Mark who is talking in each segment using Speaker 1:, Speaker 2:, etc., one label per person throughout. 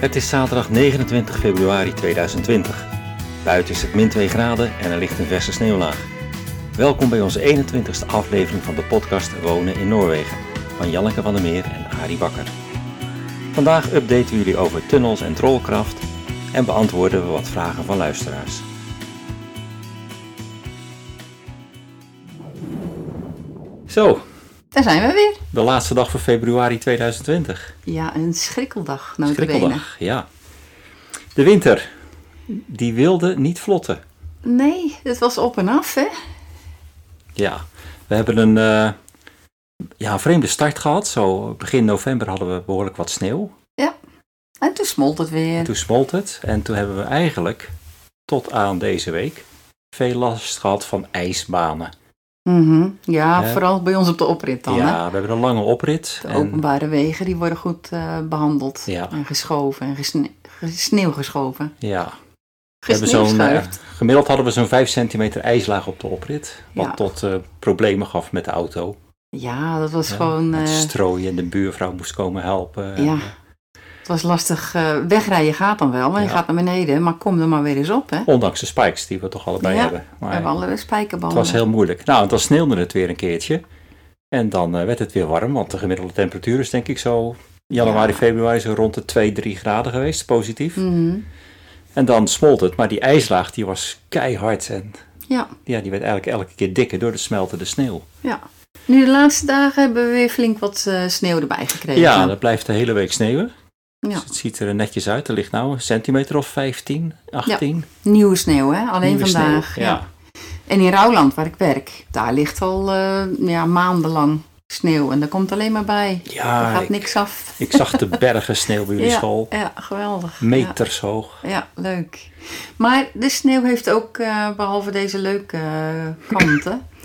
Speaker 1: Het is zaterdag 29 februari 2020. Buiten is het min 2 graden en er ligt een verse sneeuwlaag. Welkom bij onze 21ste aflevering van de podcast Wonen in Noorwegen van Janneke van der Meer en Arie Bakker. Vandaag updaten we jullie over tunnels en trollkracht en beantwoorden we wat vragen van luisteraars. Zo,
Speaker 2: Daar zijn we weer.
Speaker 1: de laatste dag van februari 2020.
Speaker 2: Ja, een schrikkeldag notabene.
Speaker 1: Schrikkeldag, ja. De winter, die wilde niet vlotten.
Speaker 2: Nee, het was op en af, hè?
Speaker 1: Ja, we hebben een, eh, ja, een vreemde start gehad. Zo begin november hadden we behoorlijk wat sneeuw.
Speaker 2: En toen smolt het weer.
Speaker 1: En toen smolt het. En toen hebben we eigenlijk tot aan deze week veel last gehad van ijsbanen.
Speaker 2: Mhm. ja,
Speaker 1: Ja.
Speaker 2: vooral bij ons op de oprit dan, hè?
Speaker 1: ja, we hebben een lange oprit.
Speaker 2: De
Speaker 1: en-
Speaker 2: openbare wegen, die worden goed eh, behandeld.
Speaker 1: Ja.
Speaker 2: En geschoven en gesne- ge- sneeuw geschoven.
Speaker 1: ja, we hebben zo'n, eh,
Speaker 2: Gesneeuwschuift.
Speaker 1: gemiddeld hadden we zo'n 5 centimeter ijslaag op de oprit. Wat
Speaker 2: Ja.
Speaker 1: tot eh, problemen gaf met de auto.
Speaker 2: ja, dat was
Speaker 1: eh, Ja,
Speaker 2: gewoon...
Speaker 1: Het
Speaker 2: eh,
Speaker 1: strooien, de buurvrouw moest komen helpen. En,
Speaker 2: ja.
Speaker 1: eh,
Speaker 2: Het was lastig. eh, wegrijden gaat dan wel, maar je
Speaker 1: Ja.
Speaker 2: gaat naar beneden. Maar kom er maar weer eens op, hè?
Speaker 1: Ondanks de spikes die we toch allebei
Speaker 2: Ja,
Speaker 1: hebben.
Speaker 2: We
Speaker 1: Maar
Speaker 2: hebben alle
Speaker 1: het
Speaker 2: spijkerbanden.
Speaker 1: was heel moeilijk. Nou, en dan sneeuwde het weer een keertje. En dan eh, werd het weer warm, want de gemiddelde temperatuur is denk ik zo januari,
Speaker 2: Ja.
Speaker 1: februari zo rond de 2, 3 graden geweest, positief.
Speaker 2: Mhm.
Speaker 1: En dan smolt het, maar die ijslaag die was keihard en
Speaker 2: Ja,
Speaker 1: ja, die werd eigenlijk elke keer dikker door de smeltende sneeuw.
Speaker 2: ja. Nu de laatste dagen hebben we weer flink wat eh, sneeuw erbij gekregen. Nou,
Speaker 1: Ja, dat blijft de hele week sneeuwen.
Speaker 2: Ja.
Speaker 1: Dus het ziet er netjes uit. Er ligt nou een centimeter of 15, 18.
Speaker 2: Nieuwe sneeuw, hè? Alleen
Speaker 1: Nieuwe sneeuw.
Speaker 2: vandaag. ja.
Speaker 1: ja.
Speaker 2: En in Rouwland, waar ik werk, daar ligt al eh, ja, maandenlang sneeuw. En daar komt alleen maar bij.
Speaker 1: Ja,
Speaker 2: er gaat
Speaker 1: ik-
Speaker 2: niks af.
Speaker 1: Ik zag de bergen sneeuw bij jullie
Speaker 2: ja,
Speaker 1: school.
Speaker 2: ja, geweldig.
Speaker 1: Meters hoog.
Speaker 2: Ja, ja, leuk. Maar de sneeuw heeft ook, eh, behalve deze leuke eh, kanten,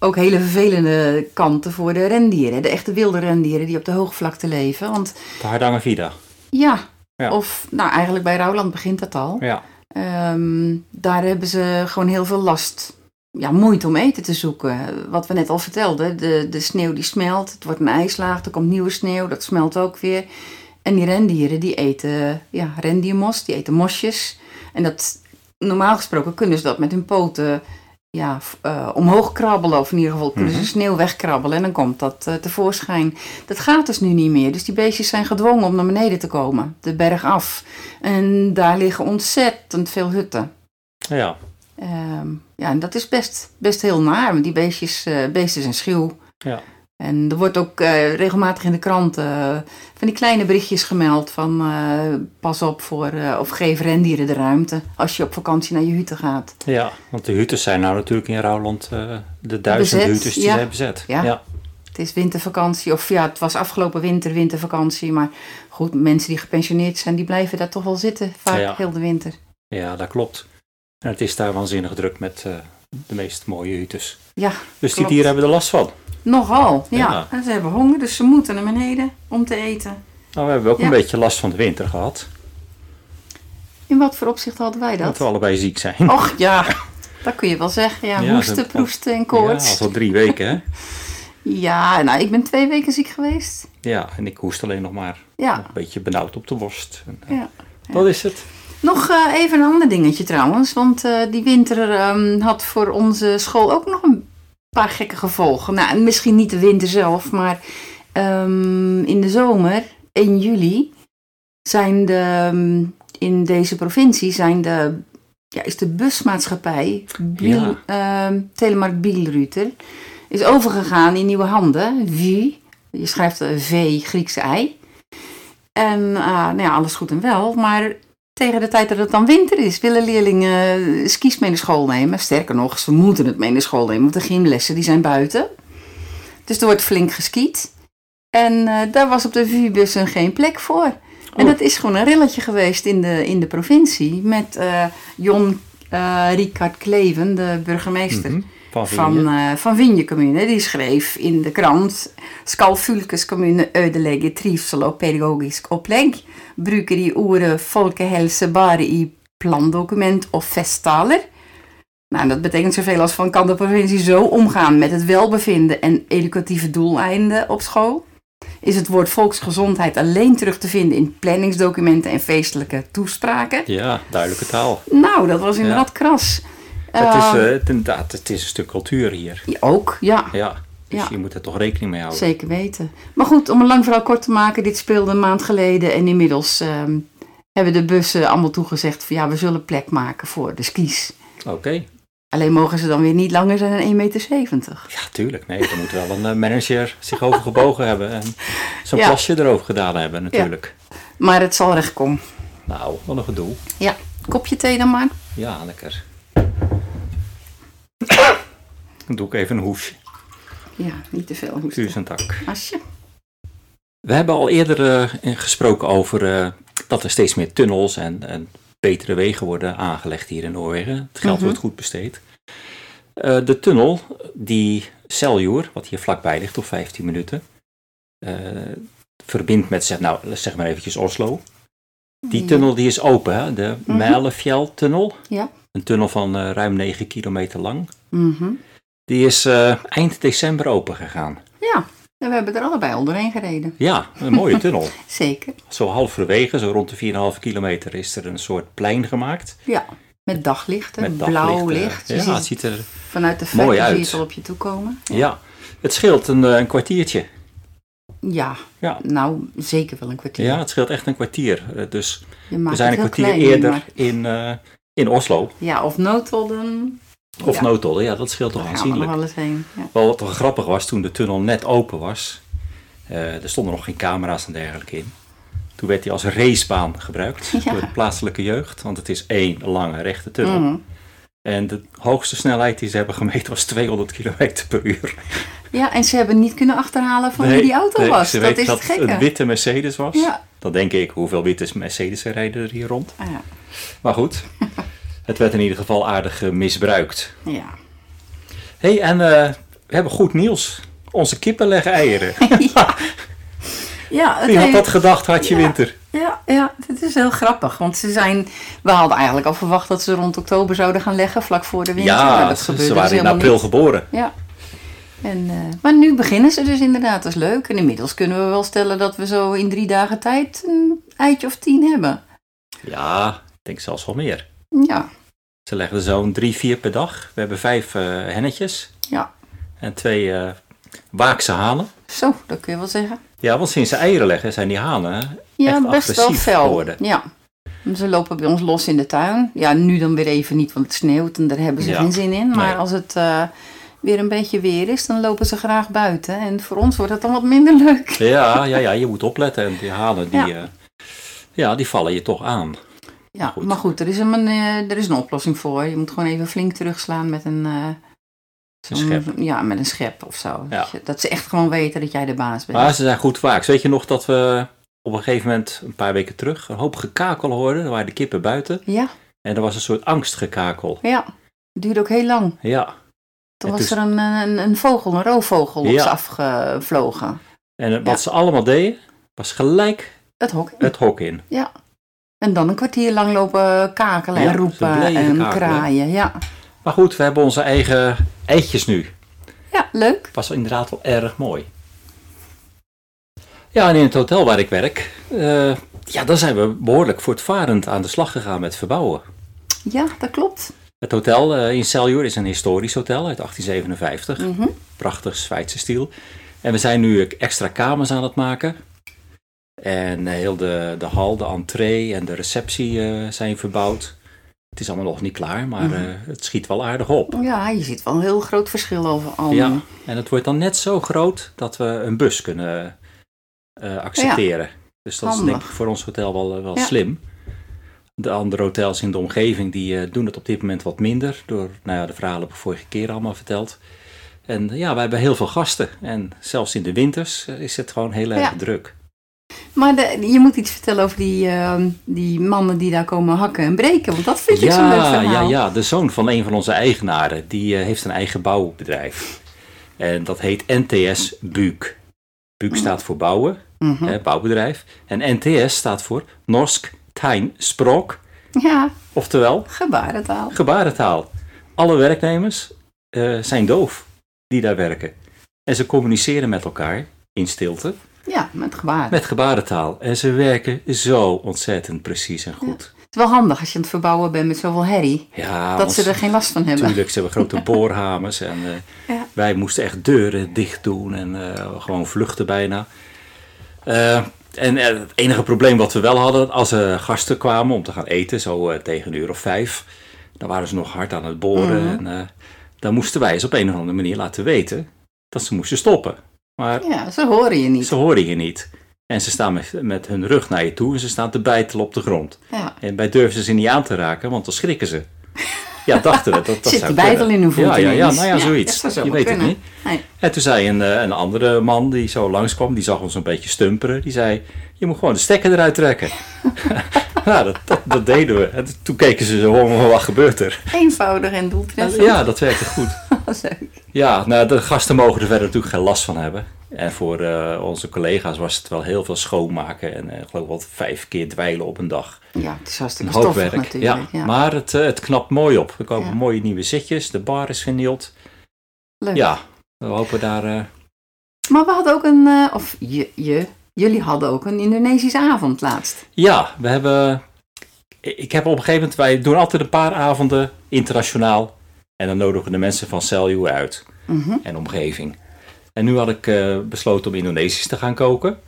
Speaker 2: ook hele vervelende kanten voor de rendieren. De echte wilde rendieren die op de hoogvlakte leven. Want
Speaker 1: De Hardanger Vida.
Speaker 2: ja,
Speaker 1: Ja.
Speaker 2: of nou eigenlijk bij Rouwland begint dat al.
Speaker 1: Ja.
Speaker 2: Ehm, daar hebben ze gewoon heel veel last. Ja, moeite om eten te zoeken. Wat we net al vertelden, de, de sneeuw die smelt, het wordt een ijslaag, er komt nieuwe sneeuw, dat smelt ook weer. En die rendieren die eten ja, rendiermos, die eten mosjes. En dat, normaal gesproken kunnen ze dat met hun poten ja, f- eh, omhoog krabbelen. Of in ieder geval kunnen
Speaker 1: Mhm.
Speaker 2: ze sneeuw wegkrabbelen en dan komt dat eh, tevoorschijn. Dat gaat dus nu niet meer. Dus die beestjes zijn gedwongen om naar beneden te komen, de berg af. En daar liggen ontzettend veel hutten.
Speaker 1: Ja,
Speaker 2: Ehm, ja, en dat is best, best heel naar, want die beestjes, eh, beesten zijn schuw.
Speaker 1: Ja.
Speaker 2: En er wordt ook eh, regelmatig in de kranten van die kleine berichtjes gemeld van eh, pas op voor, eh, of geef rendieren de ruimte als je op vakantie naar je hutte gaat.
Speaker 1: ja, want de hutters zijn nou natuurlijk in Rouwland eh, de duizend
Speaker 2: Bezet,
Speaker 1: hutters die
Speaker 2: ja.
Speaker 1: zijn bezet.
Speaker 2: Ja.
Speaker 1: ja.
Speaker 2: Het is wintervakantie, of ja, het was afgelopen winter wintervakantie, maar goed, mensen die gepensioneerd zijn, die blijven daar toch wel zitten, vaak
Speaker 1: Ja.
Speaker 2: heel de winter.
Speaker 1: Ja, dat klopt. En het is daar waanzinnig druk met eh, de meest mooie hutters.
Speaker 2: Ja,
Speaker 1: Dus die
Speaker 2: klopt.
Speaker 1: dieren hebben er last van.
Speaker 2: Nogal, ja.
Speaker 1: Ja.
Speaker 2: En ze hebben honger, dus ze moeten naar beneden om te eten.
Speaker 1: Nou, we hebben ook een
Speaker 2: Ja.
Speaker 1: beetje last van de winter gehad.
Speaker 2: In wat voor opzicht hadden wij
Speaker 1: Dat
Speaker 2: dat?
Speaker 1: we allebei ziek zijn.
Speaker 2: Och ja, dat kun je wel zeggen. Ja,
Speaker 1: Ja,
Speaker 2: hoesten,
Speaker 1: dat-
Speaker 2: proesten en
Speaker 1: Ja,
Speaker 2: koorts.
Speaker 1: al drie weken hè.
Speaker 2: Ja, nou, ik ben twee weken ziek geweest.
Speaker 1: Ja, en ik hoest alleen nog maar
Speaker 2: Ja.
Speaker 1: een beetje benauwd op de worst. En, eh,
Speaker 2: Ah. ja.
Speaker 1: Dat is het.
Speaker 2: Nog eh, even een ander dingetje trouwens. Want eh, die winter ehm, had voor onze school ook nog een paar gekke gevolgen. Nou, misschien niet de winter zelf, maar ehm, in de zomer, 1 juli, zijn de, ehm, in deze provincie zijn de, ja, is de busmaatschappij Biel, ehm, Telemark Bielruter is overgegaan in nieuwe handen. Wie? Je schrijft eh, V, Griekse ei. En eh, nou ja, alles goed en wel, maar tegen de tijd dat het dan winter is, willen leerlingen eh, skis mee naar school nemen. Sterker nog, ze moeten het mee naar school nemen, want de gymlessen die zijn buiten. Dus er wordt flink geskiet. En eh, daar was op de VU-bussen geen plek voor. En
Speaker 1: Oh.
Speaker 2: dat is gewoon een rilletje geweest in de, in de provincie met eh Jon eh Ricard Kleven, de burgemeester
Speaker 1: Mhm. Van,
Speaker 2: van,
Speaker 1: Vieren.
Speaker 2: eh, van Vinje Commune. Die schreef in de krant... Skalfulkes Commune ödelägger trivsel och pedagogisk upplägg. Brukar i ordet folkehelse bara i plandocument of festtaler. Nou, dat betekent zoveel als van kan de provincie zo omgaan met het welbevinden en educatieve doeleinden op school. is het woord volksgezondheid alleen terug te vinden in planningsdocumenten en feestelijke toespraken.
Speaker 1: Ja, duidelijke taal.
Speaker 2: Nou, dat was inderdaad kras.
Speaker 1: Het is,
Speaker 2: Eh,
Speaker 1: eh, het, inderdaad, het is een stuk cultuur hier.
Speaker 2: ja, ook, ja.
Speaker 1: Ja, dus
Speaker 2: Ja.
Speaker 1: je moet er toch rekening mee houden.
Speaker 2: Zeker weten. Maar goed, om een lang verhaal kort te maken, dit speelde een maand geleden en inmiddels ehm, hebben de bussen allemaal toegezegd van ja, we zullen plek maken voor de skis.
Speaker 1: Oké.
Speaker 2: Alleen mogen ze dan weer niet langer zijn dan 1,70 meter.
Speaker 1: Ja, tuurlijk. Nee, er moet wel een eh, manager zich over gebogen hebben en zo'n
Speaker 2: Ja.
Speaker 1: plasje erover gedaan hebben natuurlijk.
Speaker 2: Maar het zal recht komen.
Speaker 1: Nou, wat een gedoe.
Speaker 2: Ja, kopje thee dan maar.
Speaker 1: Ja, lekker. Dan doe ik even een hoefje.
Speaker 2: Ja, niet te veel
Speaker 1: Stuur
Speaker 2: hoesten.
Speaker 1: eens een tak.
Speaker 2: Asje.
Speaker 1: We hebben al eerder eh, gesproken over eh, dat er steeds meer tunnels en, en betere wegen worden aangelegd hier in Noorwegen. Het geld
Speaker 2: Mhm.
Speaker 1: wordt goed besteed. Eh, de tunnel die Seljord, wat hier vlakbij ligt op 15 minuten, eh, verbindt met, zeg, nou, zeg maar eventjes Oslo. Die
Speaker 2: Ja.
Speaker 1: tunnel die is open, hè? de
Speaker 2: Mhm.
Speaker 1: Mælefjell-tunnel.
Speaker 2: Ja.
Speaker 1: Een tunnel van eh, ruim 9 kilometer lang.
Speaker 2: Mhm.
Speaker 1: Die is eh, eind december open gegaan.
Speaker 2: Ja, en we hebben er allebei al doorheen gereden.
Speaker 1: Ja, een mooie tunnel.
Speaker 2: Zeker.
Speaker 1: Zo halverwege, zo rond de 4,5 kilometer, is er een soort plein gemaakt.
Speaker 2: Ja, met daglichten,
Speaker 1: Met
Speaker 2: blauw
Speaker 1: daglichten.
Speaker 2: licht. Je
Speaker 1: Ja,
Speaker 2: ziet
Speaker 1: het ziet er...
Speaker 2: vanuit de
Speaker 1: mooi
Speaker 2: verte zie je
Speaker 1: uit.
Speaker 2: het al op je toe komen.
Speaker 1: Ja, het scheelt een, eh, een kwartiertje.
Speaker 2: Ja,
Speaker 1: Ja.
Speaker 2: nou zeker wel een kwartier.
Speaker 1: ja, het scheelt echt een kwartier. Eh, Dus
Speaker 2: Je maakt
Speaker 1: we zijn een
Speaker 2: het
Speaker 1: kwartier
Speaker 2: heel klein, je
Speaker 1: eerder
Speaker 2: maakt-
Speaker 1: in, eh, in Oslo.
Speaker 2: Ja, of noodtolden.
Speaker 1: Of
Speaker 2: Ja.
Speaker 1: Nootolde, ja, dat scheelt toch
Speaker 2: Daar gaan we nog
Speaker 1: aanzienlijk.
Speaker 2: wel eens heen. Ja.
Speaker 1: Wel wat wel grappig was, toen de tunnel net open was, eh, er stonden nog geen camera's en dergelijke in. Toen werd die als racebaan gebruikt
Speaker 2: Ja.
Speaker 1: door de plaatselijke jeugd, want het is één lange rechte tunnel.
Speaker 2: Mhm.
Speaker 1: En de hoogste snelheid die ze hebben gemeten was 200 km per uur.
Speaker 2: ja, en ze hebben niet kunnen achterhalen van wie Oh, die auto
Speaker 1: nee,
Speaker 2: was.
Speaker 1: Ze
Speaker 2: Dat
Speaker 1: weten
Speaker 2: is
Speaker 1: dat
Speaker 2: het gekke.
Speaker 1: een witte Mercedes was.
Speaker 2: Ja.
Speaker 1: Dan denk ik, hoeveel witte Mercedes rijden er hier rond?
Speaker 2: Ah, ja.
Speaker 1: Maar goed, het werd in ieder geval aardig eh, misbruikt.
Speaker 2: Ja.
Speaker 1: hey, en eh, we hebben goed nieuws. Onze kippen leggen eieren.
Speaker 2: Ja, het
Speaker 1: Wie had
Speaker 2: heeft-
Speaker 1: dat gedacht, had je
Speaker 2: Ja.
Speaker 1: winter?
Speaker 2: Ja, ja, het is heel grappig. Want ze zijn, we hadden eigenlijk al verwacht dat ze rond oktober zouden gaan leggen, vlak voor de winter. maar
Speaker 1: Ja,
Speaker 2: dat
Speaker 1: ze,
Speaker 2: gebeurde
Speaker 1: ze
Speaker 2: dus
Speaker 1: waren in
Speaker 2: helemaal
Speaker 1: april
Speaker 2: niet.
Speaker 1: geboren.
Speaker 2: Ja. En, eh, maar nu beginnen ze dus inderdaad, dat is leuk. En inmiddels kunnen we wel stellen dat we zo in drie dagen tijd een eitje of tien hebben.
Speaker 1: Ja, ik denk zelfs wel meer.
Speaker 2: Ja,
Speaker 1: Ze leggen zo'n drie, vier per dag. We hebben vijf eh, hennetjes
Speaker 2: ja.
Speaker 1: en twee eh, waakse halen.
Speaker 2: Zo, dat kun je wel zeggen.
Speaker 1: Ja, want sinds ze eieren leggen zijn die hanen
Speaker 2: Ja,
Speaker 1: Echt
Speaker 2: best wel
Speaker 1: agressief
Speaker 2: fel.
Speaker 1: geworden.
Speaker 2: Ja. En Ze lopen bij ons los in de tuin. Ja, nu dan weer even niet, want het sneeuwt en daar hebben ze
Speaker 1: Ja.
Speaker 2: geen zin in. Maar
Speaker 1: Nee.
Speaker 2: als het eh, weer een beetje weer is, dan lopen ze graag buiten. En voor ons wordt het dan wat minder leuk.
Speaker 1: Ja, ja, ja, je moet opletten. En die halen, die,
Speaker 2: Ja.
Speaker 1: ja. ja, die vallen je toch aan.
Speaker 2: Ja,
Speaker 1: Goed.
Speaker 2: maar goed, er is, een, eh, er is een oplossing voor. Je moet gewoon even flink terugslaan met een... eh,
Speaker 1: Een
Speaker 2: zo'n-
Speaker 1: schep.
Speaker 2: Ja, met een schep of zo.
Speaker 1: Ja.
Speaker 2: Dat, je- dat ze echt gewoon weten dat jij de baas bent.
Speaker 1: Maar ze zijn goed waaks. Weet je nog dat we op een gegeven moment, een paar weken terug, een hoop gekakel hoorden. Er waren de kippen buiten.
Speaker 2: Ja,
Speaker 1: En er was een soort angstgekakel.
Speaker 2: ja. Het duurde ook heel lang.
Speaker 1: Ja.
Speaker 2: Toen
Speaker 1: Het
Speaker 2: was
Speaker 1: is-
Speaker 2: er een, eh, een, een vogel, een roofvogel, op
Speaker 1: Ja.
Speaker 2: ze afgevlogen.
Speaker 1: En wat
Speaker 2: Ja.
Speaker 1: ze allemaal deden, was gelijk
Speaker 2: Het hok.
Speaker 1: het hok in.
Speaker 2: En dan een kwartier lang lopen kakelen
Speaker 1: Ja,
Speaker 2: en
Speaker 1: ze
Speaker 2: roepen en
Speaker 1: bleven kakelen.
Speaker 2: kraaien. Ja.
Speaker 1: Maar goed, we hebben onze eigen eitjes nu.
Speaker 2: ja, leuk.
Speaker 1: was inderdaad wel erg mooi. Ja, en in het hotel waar ik werk, eh, ja, daar zijn we behoorlijk voortvarend aan de slag gegaan met verbouwen.
Speaker 2: Ja, dat klopt.
Speaker 1: Het hotel eh, in Seljord is een historisch hotel uit 1857.
Speaker 2: Mhm.
Speaker 1: Prachtig Zwijtse stiel. En we zijn nu extra kamers aan het maken. En eh, heel de, de hal, de entree en de receptie eh, zijn verbouwd. Het is allemaal nog niet klaar, maar eh, het schiet wel aardig op.
Speaker 2: Ja, je ziet wel een heel groot verschil over al.
Speaker 1: Ja, en het wordt dan net zo groot dat we een bus kunnen eh, accepteren. dus dat is
Speaker 2: handig.
Speaker 1: denk ik voor ons hotel wel, eh, wel
Speaker 2: Ja.
Speaker 1: slim. De andere hotels in de omgeving die eh, doen het op dit moment wat minder. Door nou ja, de verhalen heb ik vorige keer allemaal verteld. En eh, ja, wij hebben heel veel gasten. En zelfs in de winters eh, is het gewoon heel erg
Speaker 2: Ja.
Speaker 1: druk.
Speaker 2: Maar de- je moet iets vertellen over die, ehm, die mannen die daar komen hakken en breken. Want dat vind ik zo'n leuk
Speaker 1: ja,
Speaker 2: verhaal.
Speaker 1: ja, ja, de zoon van een van onze eigenaren, die eh, heeft een eigen bouwbedrijf. En dat heet NTS Buuk. Buuk
Speaker 2: Oh.
Speaker 1: staat voor bouwen.
Speaker 2: Mhm.
Speaker 1: hè, bouwbedrijf. En NTS staat voor Norsk Tijn Sprook,
Speaker 2: Ja,
Speaker 1: oftewel
Speaker 2: gebarentaal.
Speaker 1: gebarentaal. Alle werknemers eh, zijn doof die daar werken. En ze communiceren met elkaar in stilte.
Speaker 2: Ja, met gebaren.
Speaker 1: Met gebarentaal. En ze werken zo ontzettend precies en goed.
Speaker 2: Het is wel handig als je aan het verbouwen bent met zoveel herrie.
Speaker 1: Ja,
Speaker 2: dat ze er geen last van hebben.
Speaker 1: Natuurlijk, ze hebben grote boorhamers en eh,
Speaker 2: eh, Ja.
Speaker 1: wij moesten echt deuren dicht doen en eh, gewoon vluchten bijna. Eh, en eh, het enige probleem wat we wel hadden, als er gasten kwamen om te gaan eten, zo eh, tegen een uur of vijf, dan waren ze nog hard aan het boren. En eh, dan moesten wij ze op een of andere manier laten weten dat ze moesten stoppen. Maar
Speaker 2: Ja, ze horen je niet.
Speaker 1: ze horen je niet. En ze staan met, met hun rug naar je toe en ze staan te bijtelen op de grond.
Speaker 2: Ja.
Speaker 1: En wij durfden ze niet aan te raken, want dan schrikken ze. Ja, dachten we. Dat, dat
Speaker 2: Zit
Speaker 1: zou
Speaker 2: die bijtel
Speaker 1: kunnen.
Speaker 2: in hun voet
Speaker 1: Ja, ja, ja,
Speaker 2: ineens.
Speaker 1: nou ja,
Speaker 2: Ja, dat
Speaker 1: zoiets.
Speaker 2: zou zo
Speaker 1: je
Speaker 2: wel
Speaker 1: weet
Speaker 2: kunnen.
Speaker 1: het niet.
Speaker 2: Nee.
Speaker 1: En toen zei een, eh, een andere man die zo langskwam, die zag ons een beetje stumperen. Die zei, je moet gewoon de stekker eruit trekken. nou, dat, dat, dat deden we. En toen keken ze zo, om, wat gebeurt er?
Speaker 2: Eenvoudig en doeltreffend.
Speaker 1: Ja, dat werkte goed.
Speaker 2: Leuk.
Speaker 1: Ja, nou, de gasten mogen er verder natuurlijk geen last van hebben. En voor eh, onze collega's was het wel heel veel schoonmaken. En eh, ik geloof wel vijf keer dweilen op een dag.
Speaker 2: ja, het is
Speaker 1: Een
Speaker 2: hartstikke
Speaker 1: hoop
Speaker 2: stoffig
Speaker 1: werk. Ja.
Speaker 2: natuurlijk. Ja.
Speaker 1: Maar het, eh, het knapt mooi op. Er komen
Speaker 2: Ja.
Speaker 1: mooie nieuwe zitjes. De bar is vernield.
Speaker 2: Leuk.
Speaker 1: Ja, we hopen daar... eh,
Speaker 2: Maar we hadden ook een, eh, of je, je, jullie hadden ook een Indonesische avond laatst.
Speaker 1: Ja, we hebben... Ik heb op een gegeven moment... Wij doen altijd een paar avonden internationaal. En dan nodigen we de mensen van Celju uit.
Speaker 2: Mhm.
Speaker 1: en omgeving. En nu had ik eh, besloten om Indonesisch te gaan koken.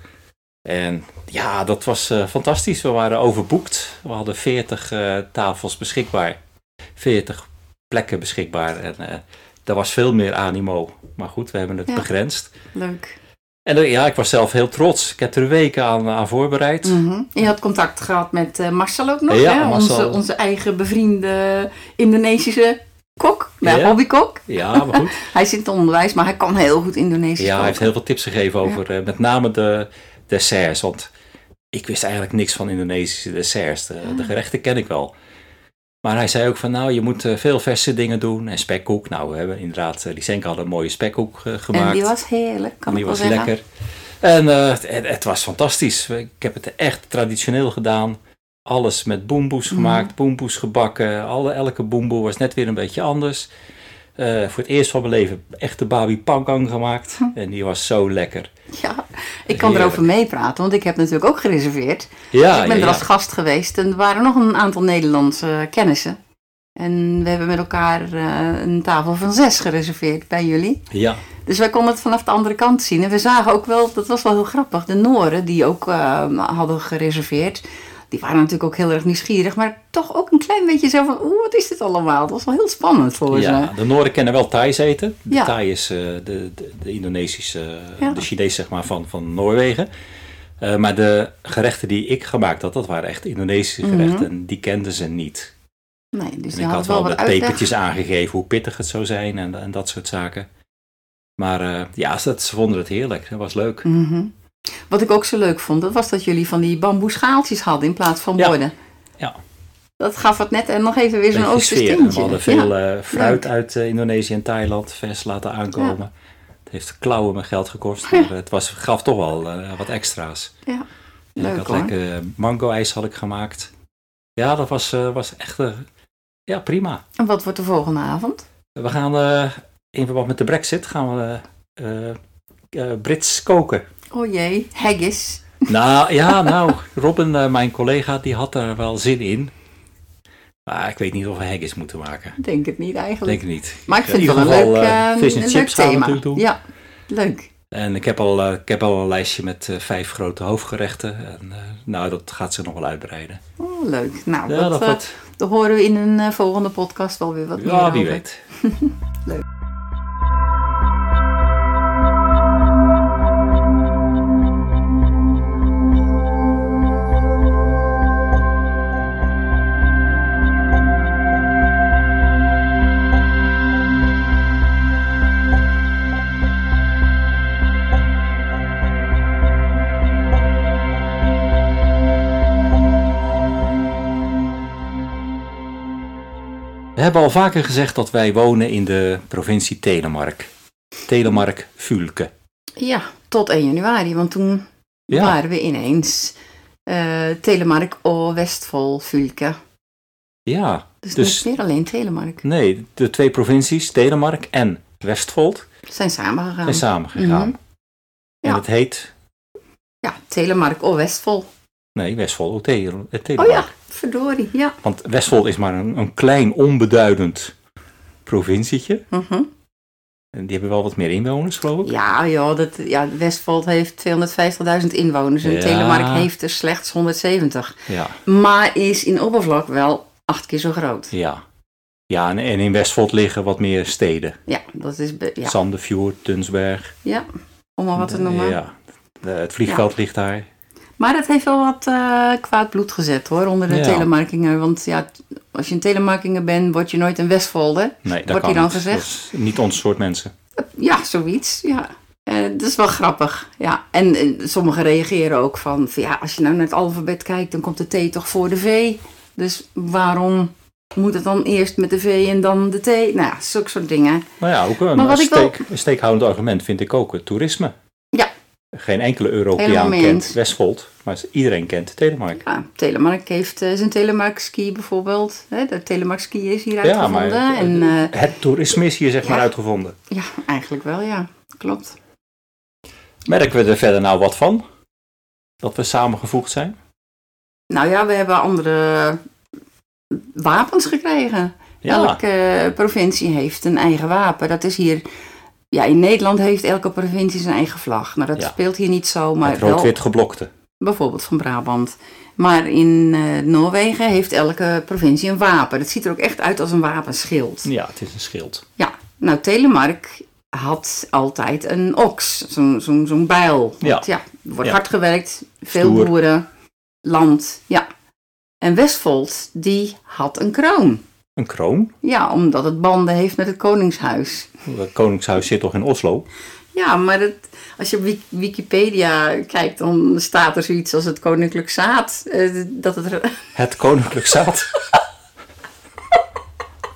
Speaker 1: En ja, dat was eh, fantastisch. We waren overboekt. We hadden 40 eh, tafels beschikbaar. 40 plekken beschikbaar. En eh, daar was veel meer animo. Maar goed, we hebben het
Speaker 2: Ja.
Speaker 1: begrensd.
Speaker 2: Leuk.
Speaker 1: En eh, ja, ik was zelf heel trots. Ik heb er weken aan, aan voorbereid.
Speaker 2: Mhm. Je had contact gehad met eh, Marcel ook nog,
Speaker 1: Ja,
Speaker 2: hè?
Speaker 1: Marcel.
Speaker 2: Onze, onze eigen bevriende Indonesische kok, ja,
Speaker 1: Ja.
Speaker 2: hobbykok.
Speaker 1: Ja, maar goed.
Speaker 2: Hij zit in het onderwijs, maar hij kan heel goed Indonesisch
Speaker 1: Ja, hij heeft
Speaker 2: koken.
Speaker 1: heel veel tips gegeven over eh, met name de desserts. Want ik wist eigenlijk niks van Indonesische desserts. De,
Speaker 2: Ah.
Speaker 1: de gerechten ken ik wel. Maar hij zei ook van nou, je moet eh, veel verse dingen doen. En spekkoek. Nou, we hebben inderdaad, eh, Lysenko had een mooie spekkoek eh, gemaakt.
Speaker 2: En die was heerlijk, kan
Speaker 1: Die
Speaker 2: ik wel
Speaker 1: was
Speaker 2: zeggen.
Speaker 1: lekker. En eh, het, het- het was fantastisch. We- Ik heb het echt traditioneel gedaan. Alles met boemboes
Speaker 2: Mhm.
Speaker 1: gemaakt, boemboes gebakken. Alle, elke boemboe was net weer een beetje anders. Eh, voor het eerst van mijn leven echte babi panggang gemaakt.
Speaker 2: Hm.
Speaker 1: En die was zo lekker.
Speaker 2: Ja, ik kan
Speaker 1: Heerlijk.
Speaker 2: erover meepraten, want ik heb natuurlijk ook gereserveerd.
Speaker 1: Ja,
Speaker 2: ik ben
Speaker 1: Ah, ja,
Speaker 2: er
Speaker 1: ja.
Speaker 2: als gast geweest en er waren nog een aantal Nederlandse eh, kennissen. En we hebben met elkaar eh, een tafel van zes gereserveerd bij jullie.
Speaker 1: Ja,
Speaker 2: Dus wij konden het vanaf de andere kant zien. En we zagen ook wel, dat was wel heel grappig, de Noren die ook eh, hadden gereserveerd. Die waren natuurlijk ook heel erg nieuwsgierig, maar toch ook een klein beetje zo van, oeh, wat is dit allemaal? Dat was wel heel spannend voor
Speaker 1: ja.
Speaker 2: ze.
Speaker 1: de Noorden kennen wel Thais eten. De
Speaker 2: Ja.
Speaker 1: Thai is eh, de, de, de Indonesische, eh,
Speaker 2: Ja.
Speaker 1: de Chinees zeg maar, van, van Noorwegen. Eh, maar de gerechten die ik gemaakt had, dat waren echt Indonesische
Speaker 2: Mhm.
Speaker 1: gerechten. En die kenden ze niet.
Speaker 2: Nee, dus
Speaker 1: En
Speaker 2: die
Speaker 1: ik had
Speaker 2: hadden
Speaker 1: wel
Speaker 2: wel wat
Speaker 1: met
Speaker 2: uitleg.
Speaker 1: pepertjes aangegeven hoe pittig het zou zijn en, en dat soort zaken. Maar eh, ja, ze, ze vonden het heerlijk. Dat was leuk.
Speaker 2: Mhm. Wat ik ook zo leuk vond, dat was dat jullie van die bamboeschaaltjes hadden in plaats van
Speaker 1: Ja.
Speaker 2: borden.
Speaker 1: Ja.
Speaker 2: Dat gaf het net en nog even weer zo'n
Speaker 1: Beetje
Speaker 2: Oosters
Speaker 1: sfeer. En We
Speaker 2: tintje.
Speaker 1: hadden veel
Speaker 2: ja.
Speaker 1: eh, fruit
Speaker 2: leuk.
Speaker 1: uit eh, Indonesië en Thailand vers laten aankomen. Het heeft klauwen mijn geld gekost, maar het was, gaf toch wel eh, wat extra's.
Speaker 2: ja.
Speaker 1: En
Speaker 2: Leuk,
Speaker 1: ik had
Speaker 2: hoor.
Speaker 1: lekker eh, mango-ijs had ik gemaakt. Ja, dat was, eh, was echt eh, ja, prima.
Speaker 2: En wat wordt de volgende avond?
Speaker 1: We gaan eh, in verband met de brexit gaan we eh, eh, Brits koken.
Speaker 2: Oh jee, haggis.
Speaker 1: Nou ja, nou, Robin, eh, mijn collega, die had er wel zin in. Maar ik weet niet of we haggis moeten maken.
Speaker 2: Ik Denk het niet
Speaker 1: Ik
Speaker 2: eigenlijk.
Speaker 1: denk het niet.
Speaker 2: maar ik
Speaker 1: eh,
Speaker 2: vind
Speaker 1: in
Speaker 2: het wel
Speaker 1: ieder
Speaker 2: een leuk,
Speaker 1: geval, eh,
Speaker 2: eh,
Speaker 1: vis en
Speaker 2: een leuk
Speaker 1: chips gaan we
Speaker 2: thema.
Speaker 1: natuurlijk doen.
Speaker 2: Ja, leuk.
Speaker 1: En ik heb, al, eh, ik heb al een lijstje met eh, vijf grote hoofdgerechten. En, eh, nou, dat gaat zich nog wel uitbreiden.
Speaker 2: Oh, leuk. Nou,
Speaker 1: Ja,
Speaker 2: dat,
Speaker 1: dat
Speaker 2: eh,
Speaker 1: wordt.
Speaker 2: daar horen we in een eh, volgende podcast wel weer wat meer
Speaker 1: Ja, wie
Speaker 2: over.
Speaker 1: weet. We hebben al vaker gezegd dat wij wonen in de provincie Telemark. Telemark Vulke.
Speaker 2: Ja, tot 1 januari, want toen
Speaker 1: Ja.
Speaker 2: waren we ineens eh, Telemark, O, Westvol, Vulke.
Speaker 1: Ja,
Speaker 2: Dus,
Speaker 1: Dus-
Speaker 2: niet meer alleen Telemark.
Speaker 1: nee, de twee provincies, Telemark en Westfold,
Speaker 2: Zijn samengegaan.
Speaker 1: zijn samengegaan.
Speaker 2: Mhm. Ja.
Speaker 1: En het heet
Speaker 2: Ja, Telemark. Oh, Westvol.
Speaker 1: Nee, Westvol ook Tele- eh,
Speaker 2: Oh
Speaker 1: Telemark.
Speaker 2: ja, verdorie. Ja.
Speaker 1: Want Westvol is maar een, een klein, onbeduidend provincietje.
Speaker 2: Mhm.
Speaker 1: En die hebben wel wat meer inwoners, geloof ik.
Speaker 2: Ja, joh, dat, ja, Westvold heeft 250.000 inwoners en
Speaker 1: Ja.
Speaker 2: Telemark heeft er slechts 170.
Speaker 1: Ja.
Speaker 2: Maar is in oppervlak wel acht keer zo groot.
Speaker 1: Ja, ja en, en in Westvold liggen wat meer steden.
Speaker 2: Ja, dat is... be- ja,
Speaker 1: Sanderfjord, Tunsberg.
Speaker 2: ja, om maar wat te noemen.
Speaker 1: Ja. Eh, het vliegveld ligt daar.
Speaker 2: Maar dat heeft wel wat eh, kwaad bloed gezet hoor, onder de
Speaker 1: Ja.
Speaker 2: telemarkingen. Want ja, t- als je een telemarkinger bent, word je nooit een Westvolder.
Speaker 1: Nee, dat
Speaker 2: Wordt
Speaker 1: kan
Speaker 2: hier dan
Speaker 1: niet.
Speaker 2: gezegd?
Speaker 1: Dat is niet ons soort mensen.
Speaker 2: Ja, zoiets. Ja. Eh, dat is wel grappig. Ja. En, eh, sommigen reageren ook van, van, ja, als je nou naar het alfabet kijkt, dan komt de T toch voor de V. Dus waarom moet het dan eerst met de V en dan de T? Nou ja, zulke soort dingen.
Speaker 1: Nou ja, ook een,
Speaker 2: Maar wat
Speaker 1: een
Speaker 2: ik wel-
Speaker 1: steek, een steekhoudend argument vind ik ook het toerisme.
Speaker 2: Ja.
Speaker 1: Geen enkele
Speaker 2: Helemaal
Speaker 1: Europeaan
Speaker 2: mee
Speaker 1: kent
Speaker 2: eens.
Speaker 1: Westvold, maar iedereen kent Telemark.
Speaker 2: Ja, Telemark heeft eh, zijn Telemark ski bijvoorbeeld. Hè, de Telemark ski is hier
Speaker 1: Ja, maar
Speaker 2: uitgevonden. en, eh,
Speaker 1: het toerisme is hier zeg maar
Speaker 2: ja.
Speaker 1: uitgevonden.
Speaker 2: ja, eigenlijk wel, ja. Klopt.
Speaker 1: Merken we er verder nou wat van? Dat we samengevoegd zijn?
Speaker 2: Nou ja, we hebben andere wapens gekregen.
Speaker 1: Ja,
Speaker 2: Elke eh, provincie heeft een eigen wapen. Dat is hier. Ja, in Nederland heeft elke provincie zijn eigen vlag. Nou, dat
Speaker 1: Ja.
Speaker 2: speelt hier niet zo, maar
Speaker 1: het rood-wit
Speaker 2: wel
Speaker 1: geblokte.
Speaker 2: bijvoorbeeld van Brabant. Maar in eh, Noorwegen heeft elke provincie een wapen. Dat ziet er ook echt uit als een wapenschild.
Speaker 1: Ja, het is een schild.
Speaker 2: Ja, nou, Telemark had altijd een oks, zo'n zo'n zo'n bijl.
Speaker 1: Ja.
Speaker 2: Want ja, er wordt
Speaker 1: Ja.
Speaker 2: hard gewerkt, veel
Speaker 1: Stoer.
Speaker 2: boeren, land, ja. En Westfold, die had een kroon.
Speaker 1: Een kroon.
Speaker 2: Ja, omdat het banden heeft met het koningshuis.
Speaker 1: Het Koningshuis zit toch in Oslo?
Speaker 2: Ja, maar dat, als je op Wik- Wikipedia kijkt, dan staat er zoiets als het koninklijk zaad. eh, dat het er-
Speaker 1: Het Koninklijk Zaad.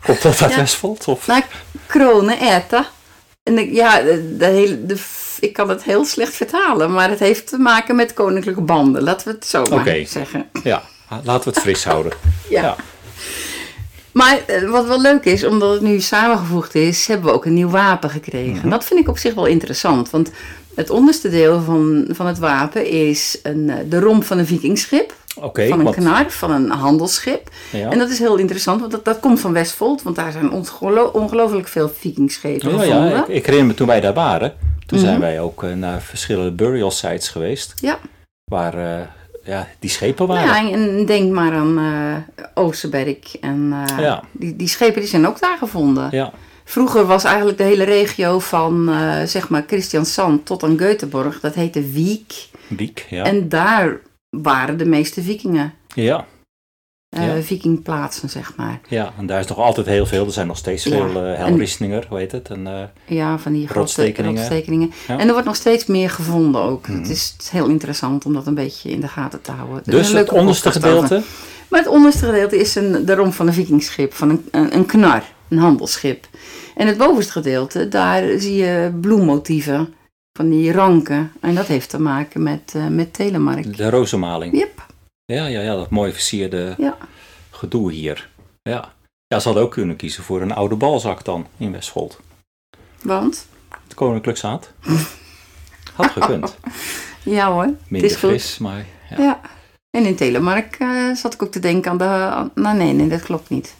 Speaker 1: Komt dat uit
Speaker 2: Ja.
Speaker 1: Westvold? Of?
Speaker 2: Nou, kronen eten. En ik- ja, de, de hele, de, f- ik kan het heel slecht vertalen, maar het heeft te maken met koninklijke banden. Laten we het zo maar
Speaker 1: Oké.
Speaker 2: zeggen.
Speaker 1: Ja, laten we het fris houden.
Speaker 2: Ja.
Speaker 1: Nou. Ja.
Speaker 2: Maar eh, wat wel leuk is, omdat het nu samengevoegd is, hebben we ook een nieuw wapen gekregen.
Speaker 1: Mhm.
Speaker 2: En dat vind ik op zich wel interessant, want het onderste deel van, van het wapen is een, eh, de romp van een vikingschip.
Speaker 1: Oké,
Speaker 2: van een
Speaker 1: want-
Speaker 2: knar, van een handelsschip.
Speaker 1: Ja.
Speaker 2: En dat is heel interessant, want dat, dat komt van Westfold, want daar zijn ongelo- ongelooflijk veel vikingschepen
Speaker 1: Oh, Ja,
Speaker 2: gevonden.
Speaker 1: ja, ik, ik herinner me toen wij daar waren. Toen zijn wij ook eh, naar verschillende burial sites geweest.
Speaker 2: ja. Nou
Speaker 1: Waar eh, ja, die schepen waren.
Speaker 2: Ja, en denk maar aan eh Oosterberg. En eh,
Speaker 1: Ja.
Speaker 2: die, die schepen die zijn ook daar gevonden.
Speaker 1: Ja.
Speaker 2: Vroeger was eigenlijk de hele regio van eh, zeg maar Christiansand tot aan Göteborg, dat heette Wiek.
Speaker 1: Wiek, ja.
Speaker 2: En daar waren de meeste vikingen,
Speaker 1: ja.
Speaker 2: eh
Speaker 1: Ja.
Speaker 2: vikingplaatsen zeg maar.
Speaker 1: Ja, en daar is nog altijd heel veel. Er zijn nog steeds
Speaker 2: Ja,
Speaker 1: veel eh
Speaker 2: en-
Speaker 1: Helrisninger, hoe heet het? En, eh,
Speaker 2: Ja, van die grote
Speaker 1: Rotstekeningen.
Speaker 2: rotstekeningen.
Speaker 1: Ja.
Speaker 2: En er wordt nog steeds meer gevonden ook.
Speaker 1: Mhm.
Speaker 2: Het is heel interessant om dat een beetje in de gaten te houden. Er is
Speaker 1: dus
Speaker 2: een
Speaker 1: het
Speaker 2: leuke
Speaker 1: onderste
Speaker 2: podcast over.
Speaker 1: gedeelte.
Speaker 2: Maar het onderste gedeelte is een, de romp van een vikingschip, van een, een, een knar, een handelsschip. En het bovenste gedeelte, daar zie je bloemmotieven van die ranken. En dat heeft te maken met, eh, met Telemark.
Speaker 1: De rozenmaling.
Speaker 2: Yep.
Speaker 1: Ja, ja, ja, dat mooi versierde
Speaker 2: Ja.
Speaker 1: gedoe hier. Ja. ja, ze hadden ook kunnen kiezen voor een oude balzak dan in Westvold.
Speaker 2: Want,
Speaker 1: Het koninklijk zaad. Had gekund.
Speaker 2: ja hoor,
Speaker 1: Minder
Speaker 2: goed.
Speaker 1: fris, maar ja.
Speaker 2: ja. En in Telemark eh, zat ik ook te denken aan de... Aan, nou nee, nee, dat klopt niet.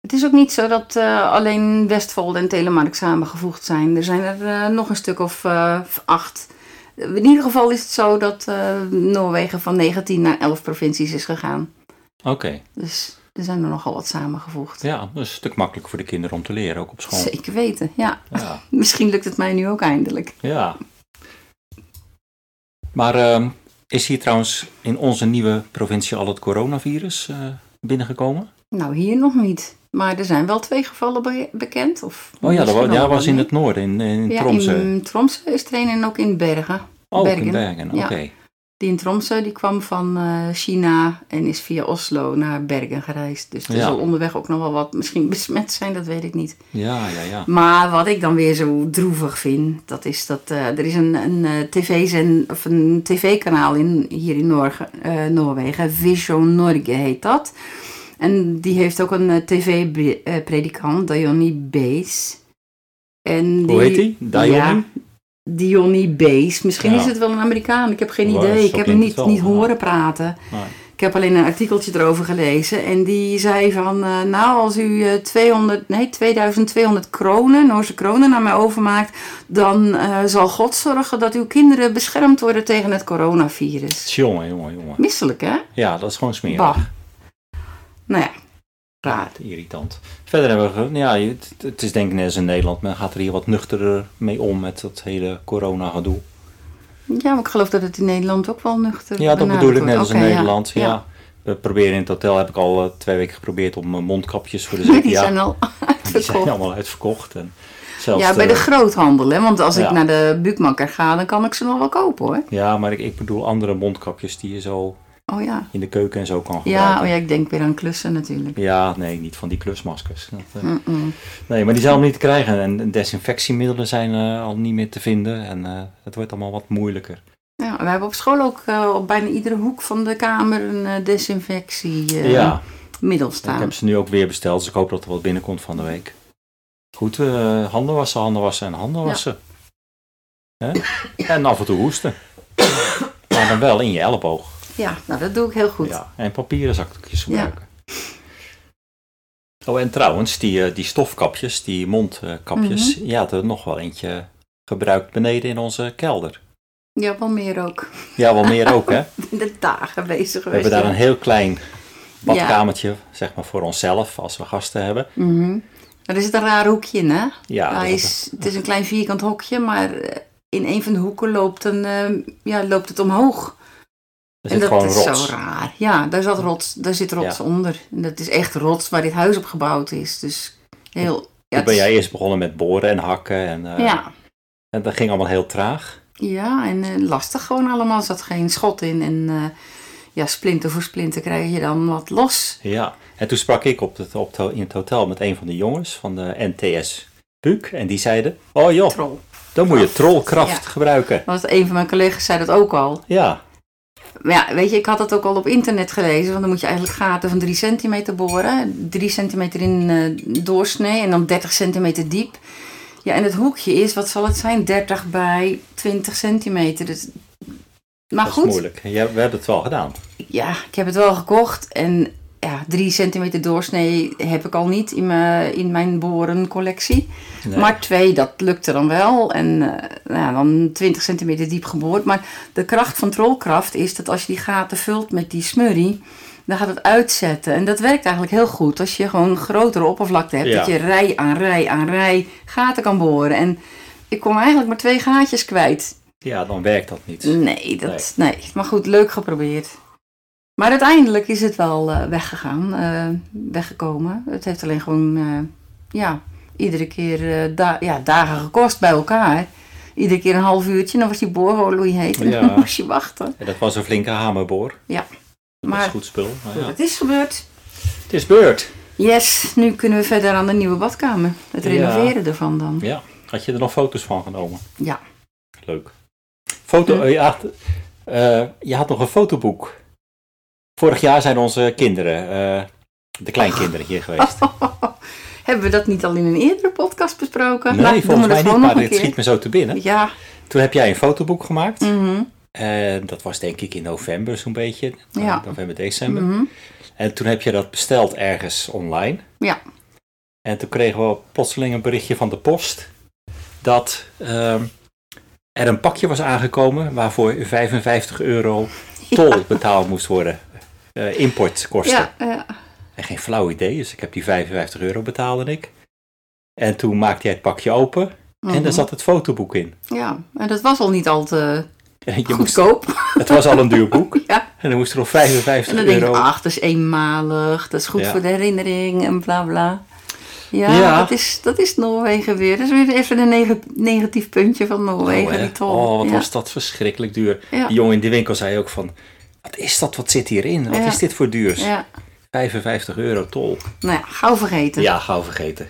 Speaker 2: Het is ook niet zo dat eh, alleen Westfold en Telemark samengevoegd zijn. Er zijn er eh, nog een stuk of eh, acht. In ieder geval is het zo dat eh, Noorwegen van 19 naar 11 provincies is gegaan.
Speaker 1: Oké,
Speaker 2: Dus er zijn er nogal wat samengevoegd.
Speaker 1: ja, dat is een stuk makkelijker voor de kinderen om te leren, ook op school.
Speaker 2: Zeker weten, ja.
Speaker 1: Ja,
Speaker 2: Misschien lukt het mij nu ook eindelijk.
Speaker 1: ja. Maar ehm, is hier trouwens in onze nieuwe provincie al het coronavirus eh, binnengekomen?
Speaker 2: Nou, hier nog niet. Maar er zijn wel twee gevallen be- bekend. Of
Speaker 1: Oh ja, dat
Speaker 2: misschien
Speaker 1: was, ja,
Speaker 2: nog
Speaker 1: was in
Speaker 2: meer.
Speaker 1: het noorden, in, in
Speaker 2: Ja,
Speaker 1: Tromsø.
Speaker 2: in Tromsø is trainen en ook in Bergen.
Speaker 1: oh, in
Speaker 2: Bergen.
Speaker 1: Bergen, oké.
Speaker 2: Ja. Die in Tromsø die kwam van eh, China en is via Oslo naar Bergen gereisd. Dus er
Speaker 1: Ja.
Speaker 2: zal onderweg ook nog wel wat misschien besmet zijn, dat weet ik niet.
Speaker 1: Ja, ja, ja.
Speaker 2: Maar wat ik dan weer zo droevig vind, dat is dat eh, er is een, een eh, tv-zend of een tv-kanaal in, hier in Noorge, eh, Noorwegen, Vision Norge heet dat. En die heeft ook een eh, tv-predikant, Dionne Bees. En
Speaker 1: Hoe heet die? Diony?
Speaker 2: Ja, Dionny Bass. Misschien
Speaker 1: Ja.
Speaker 2: is het wel een Amerikaan, ik heb geen
Speaker 1: Waar-
Speaker 2: idee.
Speaker 1: zo
Speaker 2: Ik heb hem
Speaker 1: klinkt
Speaker 2: niet,
Speaker 1: het wel,
Speaker 2: niet
Speaker 1: ja.
Speaker 2: horen praten.
Speaker 1: Maar,
Speaker 2: Ik heb alleen een artikeltje erover gelezen en die zei van, eh, nou als u eh, 200, nee, 2200 kronen, Noorse kronen naar mij overmaakt, dan eh, zal God zorgen dat uw kinderen beschermd worden tegen het coronavirus.
Speaker 1: jongen, jongen, jongen.
Speaker 2: Misselijk hè?
Speaker 1: Ja, dat is gewoon smerig.
Speaker 2: Bah. Nou ja, raar.
Speaker 1: Irritant. Verder hebben we, ge- ja, het, het is denk ik net als in Nederland, men gaat er hier wat nuchterder mee om met dat hele corona gedoe.
Speaker 2: Ja, maar ik geloof dat het in Nederland ook wel nuchter
Speaker 1: Ja, dat
Speaker 2: benaderd
Speaker 1: bedoel ik
Speaker 2: wordt.
Speaker 1: net als in
Speaker 2: Oké, ja.
Speaker 1: Nederland. Ja. We proberen in het hotel, heb ik al eh, twee weken geprobeerd om eh, mondkapjes voor de
Speaker 2: Die
Speaker 1: zekerheid.
Speaker 2: zijn al
Speaker 1: die zijn
Speaker 2: uitverkocht.
Speaker 1: allemaal uitverkocht. En zelfs eh,
Speaker 2: Ja, bij de groothandel, hè? Want als
Speaker 1: Ja.
Speaker 2: ik naar de buukmakker ga, dan kan ik ze nog wel kopen, hoor.
Speaker 1: ja, maar ik, ik bedoel andere mondkapjes die je zo
Speaker 2: Oh ja.
Speaker 1: in de keuken en zo kan
Speaker 2: Ja,
Speaker 1: gebruiken.
Speaker 2: oh ja, ik denk weer aan klussen natuurlijk.
Speaker 1: Ja, nee, niet van die klusmaskers. Dat, eh,
Speaker 2: Mm-mm.
Speaker 1: Nee, maar die zijn allemaal niet te krijgen. En desinfectiemiddelen zijn eh, al niet meer te vinden. En eh, het wordt allemaal wat moeilijker.
Speaker 2: Ja, we hebben op school ook eh, op bijna iedere hoek van de kamer een eh desinfectiemiddel
Speaker 1: ja. Ik
Speaker 2: staan.
Speaker 1: heb ze nu ook weer besteld, dus ik hoop dat er wat binnenkomt van de week. Goed, eh, handen wassen, handen wassen en handen
Speaker 2: Ja.
Speaker 1: wassen. Hè? En af en toe hoesten. maar dan wel in je elleboog.
Speaker 2: Ja, nou dat doe ik heel goed.
Speaker 1: Ja, en papieren zakdoekjes
Speaker 2: Ja.
Speaker 1: gebruiken. Oh, en trouwens, die, eh, die stofkapjes, die mondkapjes,
Speaker 2: Mhm.
Speaker 1: je had er nog wel eentje gebruikt beneden in onze kelder.
Speaker 2: Ja, wel meer ook.
Speaker 1: Ja, wel meer ook, hè?
Speaker 2: De dagen bezig
Speaker 1: We
Speaker 2: geweest.
Speaker 1: hebben daar
Speaker 2: ja.
Speaker 1: een heel klein badkamertje, zeg maar, voor onszelf, als we gasten hebben.
Speaker 2: Mhm. Er zit een raar hoekje in, hè?
Speaker 1: Ja, dat
Speaker 2: Hij
Speaker 1: is-
Speaker 2: is, het is een klein vierkant hokje, maar eh, in een van de hoeken loopt, een, eh, ja, loopt het omhoog.
Speaker 1: er
Speaker 2: en
Speaker 1: zit
Speaker 2: dat
Speaker 1: gewoon
Speaker 2: is
Speaker 1: rots.
Speaker 2: zo raar. Ja, daar, zat rots, daar zit rots
Speaker 1: Ja. onder.
Speaker 2: onder. En dat is echt rots waar dit huis op gebouwd is. Dus heel... Ja,
Speaker 1: Toen ben
Speaker 2: het is-
Speaker 1: jij eerst begonnen met boren en hakken. En, eh,
Speaker 2: ja.
Speaker 1: en dat ging allemaal heel traag.
Speaker 2: ja, en eh, lastig gewoon allemaal. Er zat geen schot in. En eh, ja, splinter voor splinter krijg je dan wat los.
Speaker 1: Ja. En toen sprak ik op het, op het- in het hotel met een van de jongens van de NTS Puuk. En die zeiden, oh joh,
Speaker 2: Trol.
Speaker 1: dan moet je
Speaker 2: Kracht.
Speaker 1: trollkracht
Speaker 2: Ja.
Speaker 1: gebruiken.
Speaker 2: Want een van mijn collega's zei dat ook al.
Speaker 1: Ja,
Speaker 2: Maar ja, weet je, ik had het ook al op internet gelezen. Want dan moet je eigenlijk gaten van 3 centimeter boren. 3 centimeter in eh, doorsnee en dan 30 centimeter diep. Ja, en het hoekje is, wat zal het zijn? 30 bij 20 centimeter. Dus... Maar
Speaker 1: dat is
Speaker 2: goed,
Speaker 1: moeilijk. Ja, we hebben het wel gedaan.
Speaker 2: ja, ik heb het wel gekocht. En ja, 3 centimeter doorsnee heb ik al niet in mijn, in mijn borencollectie.
Speaker 1: Nee.
Speaker 2: Maar twee, dat lukte dan wel. En eh, nou, ja, dan 20 centimeter diep geboord. Maar de kracht van trollkracht is dat als je die gaten vult met die smurrie, dan gaat het uitzetten. En dat werkt eigenlijk heel goed. Als je gewoon een grotere oppervlakte hebt,
Speaker 1: Ja.
Speaker 2: dat je rij aan rij aan rij gaten kan boren. En ik kom eigenlijk maar twee gaatjes kwijt.
Speaker 1: Ja, dan werkt dat niet.
Speaker 2: Nee, dat, nee. maar goed, leuk geprobeerd. Maar uiteindelijk is het wel eh, weggegaan, eh, weggekomen. Het heeft alleen gewoon, eh, ja, iedere keer eh, da- ja, dagen gekost bij elkaar. Iedere keer een half uurtje, dan was die boorholoei heet en
Speaker 1: Ja.
Speaker 2: dan moest je wachten.
Speaker 1: En dat was een flinke hamerboor.
Speaker 2: Ja,
Speaker 1: Dat
Speaker 2: maar-
Speaker 1: was goed spul. Maar ja.
Speaker 2: Het is gebeurd.
Speaker 1: Het is beurt.
Speaker 2: Yes, nu kunnen we verder aan de nieuwe badkamer. Het
Speaker 1: Ja.
Speaker 2: renoveren ervan dan.
Speaker 1: Ja. Had je er nog foto's van genomen?
Speaker 2: Ja.
Speaker 1: Leuk. Foto,
Speaker 2: Hm.
Speaker 1: eh, ja, t- eh, je had nog een fotoboek. Vorig jaar zijn onze kinderen, eh, de kleinkinderen, hier
Speaker 2: Oh,
Speaker 1: geweest.
Speaker 2: Hebben we dat niet al in een eerdere podcast besproken?
Speaker 1: Nee,
Speaker 2: Nou, doen
Speaker 1: volgens
Speaker 2: we
Speaker 1: mij
Speaker 2: dat
Speaker 1: niet,
Speaker 2: gewoon
Speaker 1: maar
Speaker 2: nog een
Speaker 1: dit
Speaker 2: keer.
Speaker 1: schiet me zo te binnen.
Speaker 2: Ja,
Speaker 1: Toen heb jij een fotoboek gemaakt.
Speaker 2: mhm,
Speaker 1: En dat was denk ik in november zo'n beetje. Eh,
Speaker 2: Ja.
Speaker 1: November, december.
Speaker 2: mhm.
Speaker 1: En toen heb je dat besteld ergens online.
Speaker 2: Ja.
Speaker 1: En toen kregen we plotseling een berichtje van de post dat ehm, er een pakje was aangekomen waarvoor 55 euro tol betaald moest worden. Eh, importkosten.
Speaker 2: Ja, ja.
Speaker 1: En geen flauw idee, dus ik heb die 55 euro betaalde ik. En toen maakte jij het pakje open en daar
Speaker 2: Mhm.
Speaker 1: zat het fotoboek in.
Speaker 2: Ja, en dat was al niet al te
Speaker 1: En je moest,
Speaker 2: goedkoop.
Speaker 1: het was al een duur boek
Speaker 2: Ja.
Speaker 1: en dan moest er nog
Speaker 2: En
Speaker 1: 55
Speaker 2: dan denk
Speaker 1: euro.
Speaker 2: ik, ach, dat is eenmalig, dat is goed
Speaker 1: Ja.
Speaker 2: voor de herinnering en bla bla. Ja,
Speaker 1: Ja.
Speaker 2: Dat, is, dat is Noorwegen weer. Dat is weer even een neg- negatief puntje van Noorwegen,
Speaker 1: Oh, hè?
Speaker 2: die tol.
Speaker 1: Oh, wat
Speaker 2: ja.
Speaker 1: was dat verschrikkelijk duur.
Speaker 2: Ja.
Speaker 1: Die jongen in de winkel zei ook van, wat is dat, wat zit hierin? Wat
Speaker 2: Ja.
Speaker 1: is dit voor duurs?
Speaker 2: Ja.
Speaker 1: 55 euro tol.
Speaker 2: Nou ja, gauw vergeten.
Speaker 1: Ja, gauw vergeten.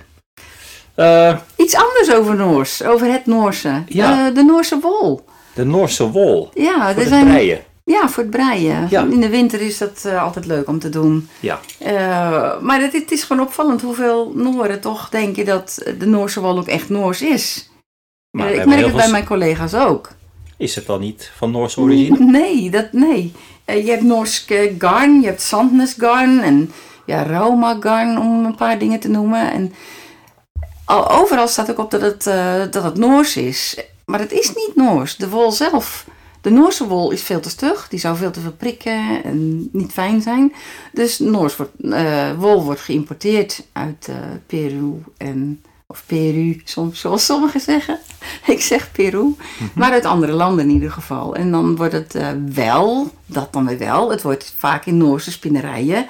Speaker 1: Eh,
Speaker 2: Iets anders over Noors, over het Noorse.
Speaker 1: Ja.
Speaker 2: Eh, de Noorse wol.
Speaker 1: de Noorse wol.
Speaker 2: Ja,
Speaker 1: Voor
Speaker 2: er
Speaker 1: de
Speaker 2: zijn,
Speaker 1: breien.
Speaker 2: ja, voor het breien.
Speaker 1: Ja.
Speaker 2: In de winter is dat eh, altijd leuk om te doen.
Speaker 1: Ja.
Speaker 2: Eh, maar het, het is gewoon opvallend hoeveel Nooren toch denken dat de Noorse wal ook echt Noors is. Eh,
Speaker 1: Maar we
Speaker 2: ik
Speaker 1: hebben
Speaker 2: merk
Speaker 1: heel
Speaker 2: het
Speaker 1: veel
Speaker 2: bij
Speaker 1: s-
Speaker 2: mijn Mm, collega's ook.
Speaker 1: Is het dan niet van Noorse origine?
Speaker 2: Nee, dat, nee. Eh, je hebt Norsk eh, garn, je hebt Sandnes garn en ja, Rauma garn om een paar dingen te noemen. En al, overal staat ook op dat het, eh, dat het Noors is. Maar het is niet Noors, de wol zelf. De Noorse wol is veel te stug, die zou veel te veel prikken en niet fijn zijn. Dus Noors wordt, eh, wol wordt geïmporteerd uit eh, Peru en... Of Peru, soms, zoals sommigen zeggen. Ik zeg Peru.
Speaker 1: Mhm.
Speaker 2: Maar uit andere landen in ieder geval. En dan wordt het eh, wel, dat dan weer wel, het wordt vaak in Noorse spinnerijen.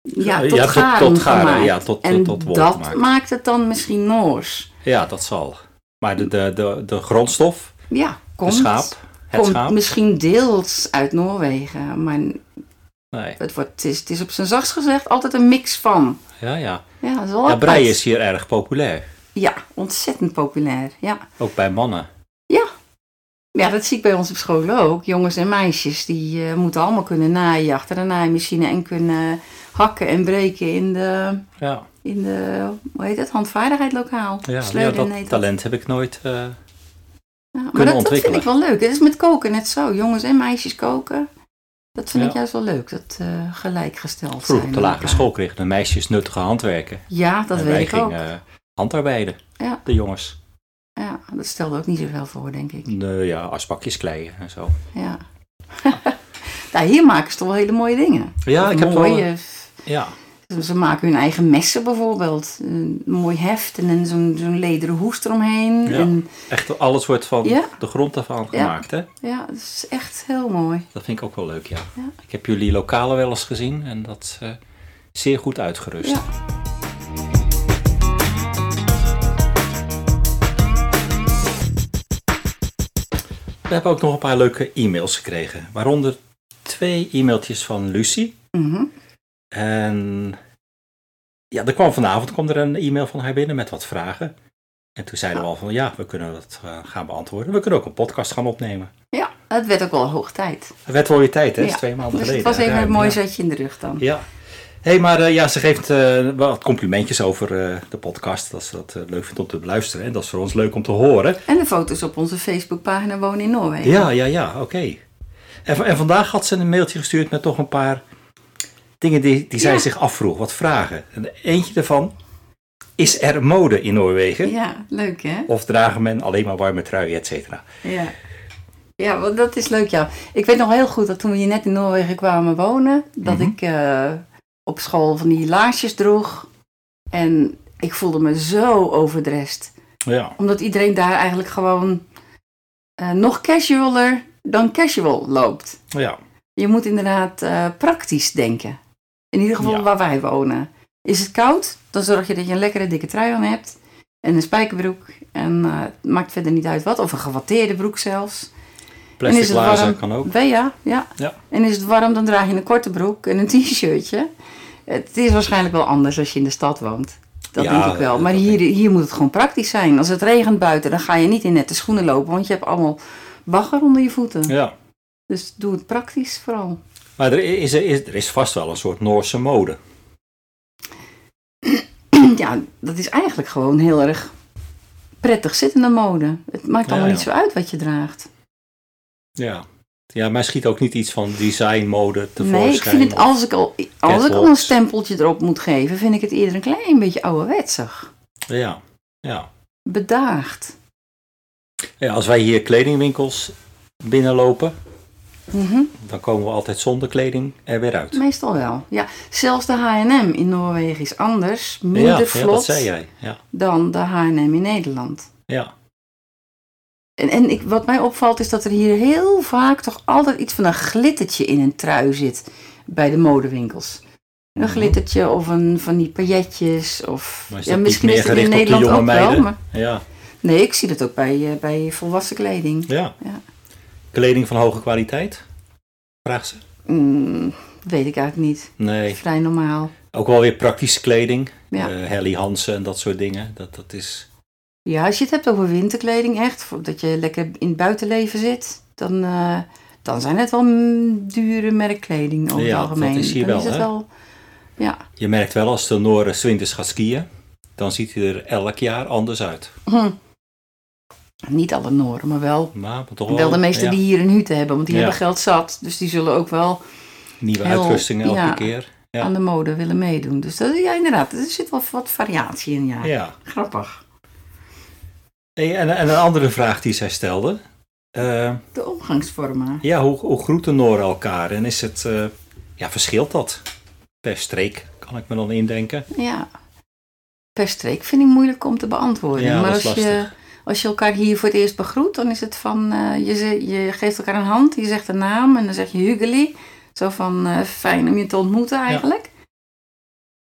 Speaker 2: Ja, tot
Speaker 1: Ja, tot-
Speaker 2: garen
Speaker 1: tot garen,
Speaker 2: gemaakt.
Speaker 1: ja, tot-
Speaker 2: en
Speaker 1: tot wol
Speaker 2: dat
Speaker 1: gemaakt.
Speaker 2: maakt het dan misschien Noors.
Speaker 1: Ja, dat zal. Maar de, de, de, de grondstof,
Speaker 2: Ja, komt.
Speaker 1: de schaap, het
Speaker 2: komt
Speaker 1: schaap.
Speaker 2: misschien deels uit Noorwegen. Maar
Speaker 1: Nee.
Speaker 2: het, wordt, het, is, het is op zijn zachtst gezegd altijd een mix van.
Speaker 1: Ja, ja.
Speaker 2: Ja, dat is wel
Speaker 1: ja, breien
Speaker 2: apart.
Speaker 1: is hier erg populair.
Speaker 2: Ja, ontzettend populair. Ja.
Speaker 1: Ook bij mannen.
Speaker 2: Ja. Ja, dat zie ik bij ons op school ook. Jongens en meisjes, die eh, moeten allemaal kunnen naaien achter de naaimachine en kunnen hakken en breken in de,
Speaker 1: Ja,
Speaker 2: in de hoe heet het, handvaardigheidlokaal.
Speaker 1: ja, ja
Speaker 2: Sleuren heet
Speaker 1: dat talent heb ik nooit. eh,
Speaker 2: Ja, Nou,
Speaker 1: kunnen
Speaker 2: maar dat, dat vind
Speaker 1: ontwikkelen.
Speaker 2: ik wel leuk. Het is met koken net zo. Jongens en meisjes koken. Dat vind
Speaker 1: Ja.
Speaker 2: ik juist wel leuk, dat eh gelijkgesteld
Speaker 1: vroeger
Speaker 2: zijn.
Speaker 1: op de
Speaker 2: aan
Speaker 1: lagere
Speaker 2: elkaar.
Speaker 1: school kregen de meisjes nuttige handwerken.
Speaker 2: Ja, dat
Speaker 1: en
Speaker 2: weet
Speaker 1: wij
Speaker 2: ik ook.
Speaker 1: gingen eh, handarbeiden,
Speaker 2: Ja.
Speaker 1: de jongens.
Speaker 2: Ja, dat stelde ook niet zoveel voor, denk ik.
Speaker 1: De, ja, asbakjes kleien en zo.
Speaker 2: Ja. nou, hier maken ze toch wel hele mooie dingen.
Speaker 1: Ja,
Speaker 2: Of
Speaker 1: ik heb wel-
Speaker 2: mooie,
Speaker 1: Ja,
Speaker 2: Ze maken hun eigen messen bijvoorbeeld. Een mooi heft en dan zo'n zo'n lederen hoest eromheen.
Speaker 1: Ja.
Speaker 2: En,
Speaker 1: echt alles wordt van
Speaker 2: Ja.
Speaker 1: de grond ervan gemaakt, hè?
Speaker 2: ja, dat is echt heel mooi.
Speaker 1: Dat vind ik ook wel leuk, ja.
Speaker 2: Ja.
Speaker 1: Ik heb jullie lokalen wel eens gezien en dat is eh, zeer goed uitgerust.
Speaker 2: Ja.
Speaker 1: We hebben ook nog een paar leuke e-mails gekregen, waaronder twee e-mailtjes van Lucie.
Speaker 2: Mhm.
Speaker 1: En ja, er kwam vanavond kwam er een e-mail van haar binnen met wat vragen. En toen zeiden we al van ja, we kunnen dat eh, gaan beantwoorden. We kunnen ook een podcast gaan opnemen.
Speaker 2: ja, het werd ook wel hoog tijd.
Speaker 1: Het werd wel weer tijd, hè? Het is
Speaker 2: Ja.
Speaker 1: twee maanden
Speaker 2: Dus het
Speaker 1: geleden.
Speaker 2: was even
Speaker 1: Ruim,
Speaker 2: een mooi
Speaker 1: ja.
Speaker 2: zetje in de rug dan.
Speaker 1: Ja. hey, maar eh, ja, ze geeft eh, wat complimentjes over eh, de podcast. Dat ze dat eh, leuk vindt om te beluisteren. En dat is voor ons leuk om te horen.
Speaker 2: En de foto's op onze Facebookpagina Wonen in Noorwegen.
Speaker 1: Ja, ja, ja, oké. En, v- en vandaag had ze een mailtje gestuurd met toch een paar dingen die, die zij
Speaker 2: Ja.
Speaker 1: zich afvroeg. Wat vragen. En eentje daarvan, is er mode in Noorwegen?
Speaker 2: Ja, leuk hè?
Speaker 1: Of dragen men alleen maar warme truien, et cetera?
Speaker 2: Ja. Ja, want dat is leuk, ja. Ik weet nog heel goed dat toen we hier net in Noorwegen kwamen wonen, dat
Speaker 1: Mhm.
Speaker 2: ik eh, op school van die laarsjes droeg. En ik voelde me zo overdressed.
Speaker 1: Ja.
Speaker 2: Omdat iedereen daar eigenlijk gewoon eh, nog casualer dan casual loopt.
Speaker 1: ja.
Speaker 2: Je moet inderdaad eh, praktisch denken. In ieder geval
Speaker 1: Ja.
Speaker 2: waar wij wonen. Is het koud, dan zorg je dat je een lekkere dikke trui aan hebt. En een spijkerbroek. En eh, het maakt verder niet uit wat. Of een gewatteerde broek zelfs.
Speaker 1: Plastic
Speaker 2: is het
Speaker 1: glazen
Speaker 2: warm?
Speaker 1: kan ook.
Speaker 2: Wij ja, ja.
Speaker 1: Ja.
Speaker 2: En is het warm, dan draag je een korte broek en een t-shirtje. Het is waarschijnlijk wel anders als je in de stad woont. Dat
Speaker 1: Ja,
Speaker 2: denk ik wel.
Speaker 1: dat
Speaker 2: Maar
Speaker 1: denk
Speaker 2: hier, hier moet het gewoon praktisch zijn. Als het regent buiten, dan ga je niet in nette schoenen lopen, want je hebt allemaal bagger onder je voeten.
Speaker 1: Ja.
Speaker 2: Dus doe het praktisch vooral.
Speaker 1: Maar er is, er, is, er is vast wel een soort Noorse mode.
Speaker 2: ja, dat is eigenlijk gewoon heel erg prettig zittende mode. Het maakt allemaal
Speaker 1: ja.
Speaker 2: niet zo uit wat je draagt.
Speaker 1: Ja. Ja, maar schiet ook niet iets van designmode tevoorschijn.
Speaker 2: nee, ik vind het,
Speaker 1: of-
Speaker 2: als ik, al, als ik al een
Speaker 1: catwalks.
Speaker 2: stempeltje erop moet geven, vind ik het eerder een klein beetje ouderwetsig.
Speaker 1: Ja, ja.
Speaker 2: bedaagd.
Speaker 1: ja, als wij hier kledingwinkels binnenlopen,
Speaker 2: Mhm,
Speaker 1: dan komen we altijd zonder kleding er weer uit.
Speaker 2: Meestal wel. Ja, zelfs de H&M in Noorwegen is anders,
Speaker 1: ja,
Speaker 2: minder
Speaker 1: ja, dat
Speaker 2: vlot
Speaker 1: zei jij. Ja,
Speaker 2: dan de H&M in Nederland.
Speaker 1: ja.
Speaker 2: En, en ik, wat mij opvalt is dat er hier heel vaak toch altijd iets van een glittertje in een trui zit bij de modewinkels. Een glittertje of een van die pailletjes of
Speaker 1: Mhm. Maar is
Speaker 2: ja,
Speaker 1: dat niet
Speaker 2: misschien
Speaker 1: meer
Speaker 2: is dat in
Speaker 1: gericht op de
Speaker 2: Nederland
Speaker 1: jonge
Speaker 2: ook wel.
Speaker 1: meiden?
Speaker 2: Maar,
Speaker 1: ja,
Speaker 2: nee, ik zie dat ook bij, eh, bij volwassen kleding.
Speaker 1: ja.
Speaker 2: Ja.
Speaker 1: Kleding van hoge kwaliteit? Vraagt ze.
Speaker 2: Mm, weet ik eigenlijk niet.
Speaker 1: Nee,
Speaker 2: Vrij normaal.
Speaker 1: ook wel weer praktische kleding.
Speaker 2: Ja.
Speaker 1: Eh, Helly Hansen en dat soort dingen. Dat, dat is...
Speaker 2: Ja, als je het hebt over winterkleding echt, voor- dat je lekker in het buitenleven zit, dan, eh, dan zijn het wel mm, dure merkkleding over
Speaker 1: Ja,
Speaker 2: het
Speaker 1: dat
Speaker 2: algemeen.
Speaker 1: is hier
Speaker 2: dan
Speaker 1: wel,
Speaker 2: het
Speaker 1: hè?
Speaker 2: wel. Ja,
Speaker 1: Je merkt wel als de Noren 's winters gaat skiën, dan ziet hij er elk jaar anders uit.
Speaker 2: Hm. Niet alle Noren, maar wel,
Speaker 1: Maar, maar toch
Speaker 2: wel de meesten
Speaker 1: Oh, ja,
Speaker 2: die hier een hutte hebben, want die
Speaker 1: Ja.
Speaker 2: hebben geld zat. Dus die zullen ook wel
Speaker 1: Nieuwe
Speaker 2: heel-
Speaker 1: uitrustingen elke
Speaker 2: ja.
Speaker 1: keer. Ja.
Speaker 2: aan de mode willen meedoen. Dus dat, ja, inderdaad, er zit wel wat variatie in, ja.
Speaker 1: ja.
Speaker 2: Grappig.
Speaker 1: Hey, en, en een andere vraag die zij stelde. eh,
Speaker 2: De omgangsvormen.
Speaker 1: ja, hoe, hoe groeten Noren elkaar? En is het, eh, ja, verschilt dat per streek? Kan ik me dan indenken.
Speaker 2: Ja. Per streek vind ik moeilijk om te beantwoorden.
Speaker 1: Ja,
Speaker 2: maar
Speaker 1: dat is
Speaker 2: als, je,
Speaker 1: lastig.
Speaker 2: als je elkaar hier voor het eerst begroet, dan is het van: eh, je, ze- je geeft elkaar een hand, je zegt een naam en dan zeg je Hugely. Zo van: eh, fijn om je te ontmoeten eigenlijk.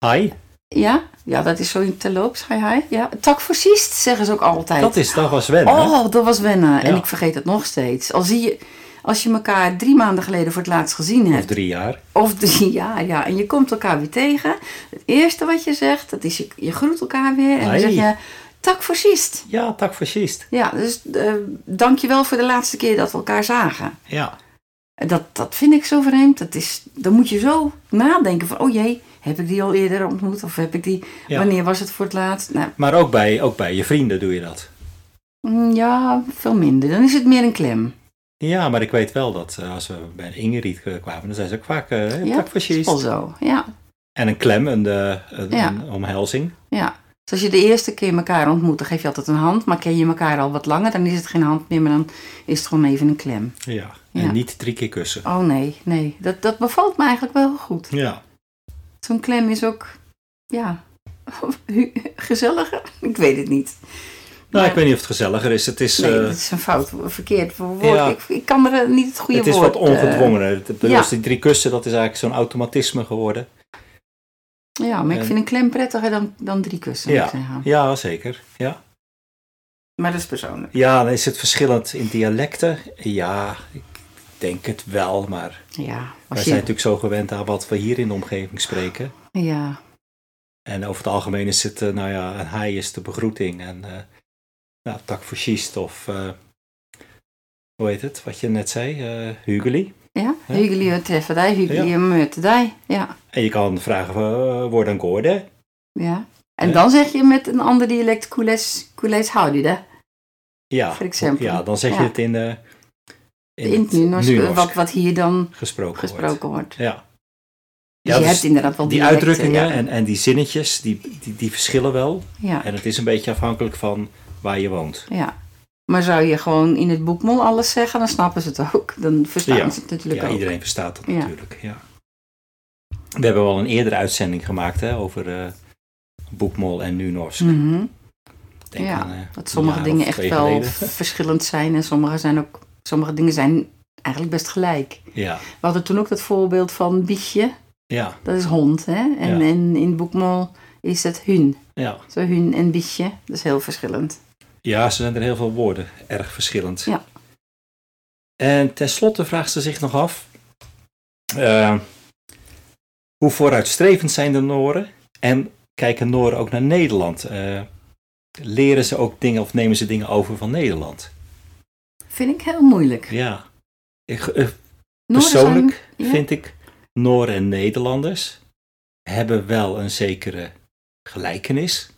Speaker 1: Hi,
Speaker 2: Ja, ja, dat is zo in terloops. Hi, hi. Ja. Tak voor siest zeggen ze ook altijd.
Speaker 1: dat, is, dat was wennen. hè?
Speaker 2: Oh, dat was wennen. En
Speaker 1: Ja.
Speaker 2: ik vergeet het nog steeds. Al zie je, als je elkaar drie maanden geleden voor het laatst gezien
Speaker 1: Of
Speaker 2: hebt,
Speaker 1: drie jaar.
Speaker 2: of drie jaar, ja. En je komt elkaar weer tegen. Het eerste wat je zegt, dat is je, je groet elkaar weer. En dan
Speaker 1: Hoi.
Speaker 2: zeg je, tak voor sist.
Speaker 1: Ja, takfascist.
Speaker 2: Ja, dus eh dankjewel voor de laatste keer dat we elkaar zagen.
Speaker 1: Ja.
Speaker 2: En Dat, dat vind ik zo vreemd. Dat is, dan moet je zo nadenken van, oh jee, heb ik die al eerder ontmoet? Of heb ik die,
Speaker 1: Ja.
Speaker 2: wanneer was het voor het laatst? Nou,
Speaker 1: Maar ook bij, ook bij je vrienden doe je dat.
Speaker 2: mm, ja, veel minder. Dan is het meer een klem.
Speaker 1: Ja, maar ik weet wel dat eh, als we bij Ingrid eh, kwamen, dan zijn ze ook vaak eh
Speaker 2: Ja, is wel
Speaker 1: takfascist.
Speaker 2: zo. Ja,
Speaker 1: En een klem, een, eh, een,
Speaker 2: Ja.
Speaker 1: een omhelzing.
Speaker 2: ja. Dus als je de eerste keer elkaar ontmoet, dan geef je altijd een hand. Maar ken je elkaar al wat langer, dan is het geen hand meer, maar dan is het gewoon even een klem.
Speaker 1: Ja.
Speaker 2: Ja.
Speaker 1: En niet drie keer kussen.
Speaker 2: Oh nee, nee. Dat, dat bevalt me eigenlijk wel heel goed.
Speaker 1: Ja.
Speaker 2: Zo'n klem is ook, ja, hu- gezelliger. Ik weet het niet.
Speaker 1: Nou,
Speaker 2: Maar-
Speaker 1: ik weet niet of het gezelliger is. Het is,
Speaker 2: Nee,
Speaker 1: eh,
Speaker 2: dat is een fout, verkeerd woord.
Speaker 1: Ja.
Speaker 2: Ik, ik kan er eh, niet het goede
Speaker 1: het is
Speaker 2: woord...
Speaker 1: wat
Speaker 2: eh,
Speaker 1: ongedwongener. Het- het-
Speaker 2: ja.
Speaker 1: dus die drie kussen, dat is eigenlijk zo'n automatisme geworden.
Speaker 2: ja, maar ik
Speaker 1: eh,
Speaker 2: vind een klem prettiger dan, dan drie kussen, moet
Speaker 1: Ja.
Speaker 2: ik zeggen.
Speaker 1: Ja, zeker. Ja.
Speaker 2: Maar dat is persoonlijk.
Speaker 1: ja, dan is het verschillend in dialecten. Ja, ik denk het wel, maar
Speaker 2: Ja,
Speaker 1: wij
Speaker 2: als
Speaker 1: zijn
Speaker 2: je,
Speaker 1: natuurlijk zo gewend aan wat we hier in de omgeving spreken.
Speaker 2: ja,
Speaker 1: En over het algemeen is het, eh, nou ja, een haai is de begroeting. En eh nou, takfascist of, eh, hoe heet het, wat je net zei, eh hugely.
Speaker 2: ja.
Speaker 1: Ja.
Speaker 2: Hugely het treffen die, hugely hem met die. Ja,
Speaker 1: En je kan vragen, eh, word een goorde.
Speaker 2: ja. En
Speaker 1: Ja.
Speaker 2: dan zeg je met een ander dialect, koeles, koeles houdt hè?
Speaker 1: Ja,
Speaker 2: For example.
Speaker 1: ja, dan zeg je
Speaker 2: Ja.
Speaker 1: het in, eh in,
Speaker 2: In
Speaker 1: het
Speaker 2: het nu,
Speaker 1: Nunorsk
Speaker 2: wat, wat hier dan
Speaker 1: gesproken, wordt.
Speaker 2: gesproken wordt.
Speaker 1: Ja.
Speaker 2: Dus
Speaker 1: Ja,
Speaker 2: je
Speaker 1: dus
Speaker 2: hebt inderdaad wel
Speaker 1: die
Speaker 2: dialecten,
Speaker 1: uitdrukkingen
Speaker 2: ja.
Speaker 1: en, en die zinnetjes, die, die, die verschillen wel.
Speaker 2: Ja,
Speaker 1: En het is een beetje afhankelijk van waar je woont.
Speaker 2: ja. Maar zou je gewoon in het boekmol alles zeggen, dan snappen ze het ook. Dan verstaan
Speaker 1: Ja.
Speaker 2: ze het natuurlijk
Speaker 1: Ja,
Speaker 2: ook.
Speaker 1: iedereen verstaat dat
Speaker 2: Ja.
Speaker 1: natuurlijk. Ja. We hebben wel een eerdere uitzending gemaakt hè, over eh, Boekmol en Nunorsk.
Speaker 2: Mhm.
Speaker 1: Ik denk
Speaker 2: ja,
Speaker 1: een, eh,
Speaker 2: Dat sommige
Speaker 1: jaar
Speaker 2: dingen
Speaker 1: of
Speaker 2: echt
Speaker 1: twee
Speaker 2: wel
Speaker 1: geleden.
Speaker 2: verschillend zijn en sommige, zijn ook, sommige dingen zijn eigenlijk best gelijk.
Speaker 1: Ja,
Speaker 2: We hadden toen ook dat voorbeeld van bietje,
Speaker 1: ja,
Speaker 2: dat is hond. Hè? En,
Speaker 1: Ja.
Speaker 2: en in het boekmol is het hun.
Speaker 1: ja.
Speaker 2: Zo hun en bietje, dat is heel verschillend.
Speaker 1: ja, ze zijn er heel veel woorden. Erg verschillend.
Speaker 2: Ja.
Speaker 1: En tenslotte vraagt ze zich nog af... eh, hoe vooruitstrevend zijn de Noren? En kijken Noren ook naar Nederland? Eh, leren ze ook dingen of nemen ze dingen over van Nederland?
Speaker 2: Vind ik heel moeilijk.
Speaker 1: Ja. Ik, eh,
Speaker 2: Noorden zijn-
Speaker 1: Persoonlijk
Speaker 2: ja.
Speaker 1: vind ik Noren en Nederlanders hebben wel een zekere gelijkenis.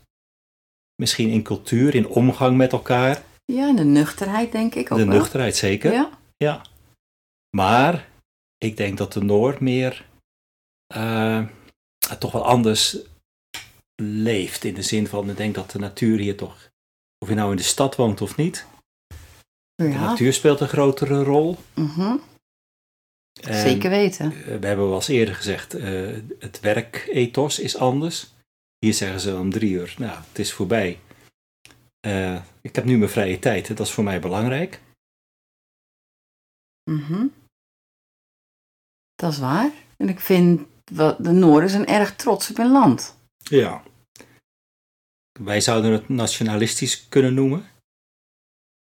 Speaker 1: Misschien in cultuur, in omgang met elkaar.
Speaker 2: Ja, en de nuchterheid denk ik ook
Speaker 1: de
Speaker 2: wel.
Speaker 1: nuchterheid zeker.
Speaker 2: Ja,
Speaker 1: Maar ik denk dat de Noor meer eh, toch wel anders leeft. In de zin van, ik denk dat de natuur hier toch, of je nou in de stad woont of niet, de
Speaker 2: ja.
Speaker 1: natuur speelt een grotere rol.
Speaker 2: mhm.
Speaker 1: En-
Speaker 2: zeker weten.
Speaker 1: Eh, we hebben wel eens eerder gezegd, eh, het werkethos is anders. Hier zeggen ze om drie uur, nou, het is voorbij. Eh, ik heb nu mijn vrije tijd, hè, dat is voor mij belangrijk.
Speaker 2: Mhm. Dat is waar. En ik vind wat, de Noorden zijn erg trots op hun land.
Speaker 1: Ja. Wij zouden het nationalistisch kunnen noemen.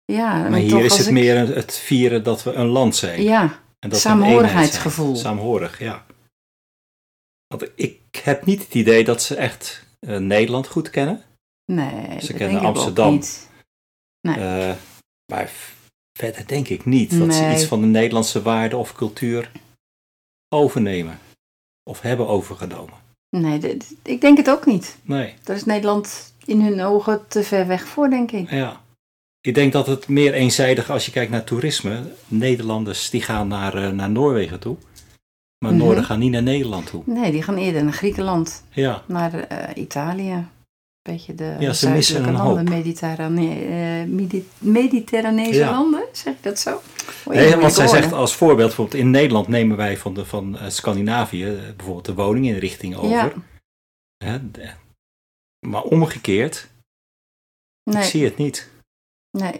Speaker 2: Ja,
Speaker 1: Maar
Speaker 2: toch
Speaker 1: hier is
Speaker 2: als
Speaker 1: het
Speaker 2: ik-
Speaker 1: meer een- het vieren dat we een land zijn.
Speaker 2: Ja,
Speaker 1: en dat we een
Speaker 2: saamhorigheidsgevoel.
Speaker 1: eenheid zijn. Saamhorig, ja. Want ik heb niet het idee dat ze echt eh, Nederland goed kennen.
Speaker 2: nee.
Speaker 1: Ze kennen
Speaker 2: dat denk ik ook
Speaker 1: Amsterdam.
Speaker 2: niet.
Speaker 1: Eh, maar v- verder denk ik niet dat ze
Speaker 2: Nee.
Speaker 1: iets van de Nederlandse waarden of cultuur overnemen. Of hebben overgenomen.
Speaker 2: Nee, dit- dit- ik denk het ook niet.
Speaker 1: Nee,
Speaker 2: Daar is Nederland in hun ogen te ver weg voor, denk ik.
Speaker 1: ja. Ik denk dat het meer eenzijdig als je kijkt naar toerisme. Nederlanders die gaan naar, eh, naar Noorwegen toe. Maar
Speaker 2: Mhm.
Speaker 1: Noorden gaan niet naar Nederland toe.
Speaker 2: Nee, die gaan eerder naar Griekenland,
Speaker 1: Ja,
Speaker 2: naar eh, Italië. Een beetje de
Speaker 1: Ja, ze missen
Speaker 2: zuidelijke
Speaker 1: een
Speaker 2: landen,
Speaker 1: hoop.
Speaker 2: Mediterrane- eh, Medi- Mediterranese
Speaker 1: Ja.
Speaker 2: landen, zeg ik dat zo? Oei,
Speaker 1: Nee, want
Speaker 2: moeilijke
Speaker 1: zij zegt
Speaker 2: woorden.
Speaker 1: als voorbeeld, bijvoorbeeld in Nederland nemen wij van, de, van eh, Scandinavië eh, bijvoorbeeld de woninginrichting over.
Speaker 2: Ja,
Speaker 1: Hè, de- maar omgekeerd, ik
Speaker 2: nee,
Speaker 1: zie het niet.
Speaker 2: nee.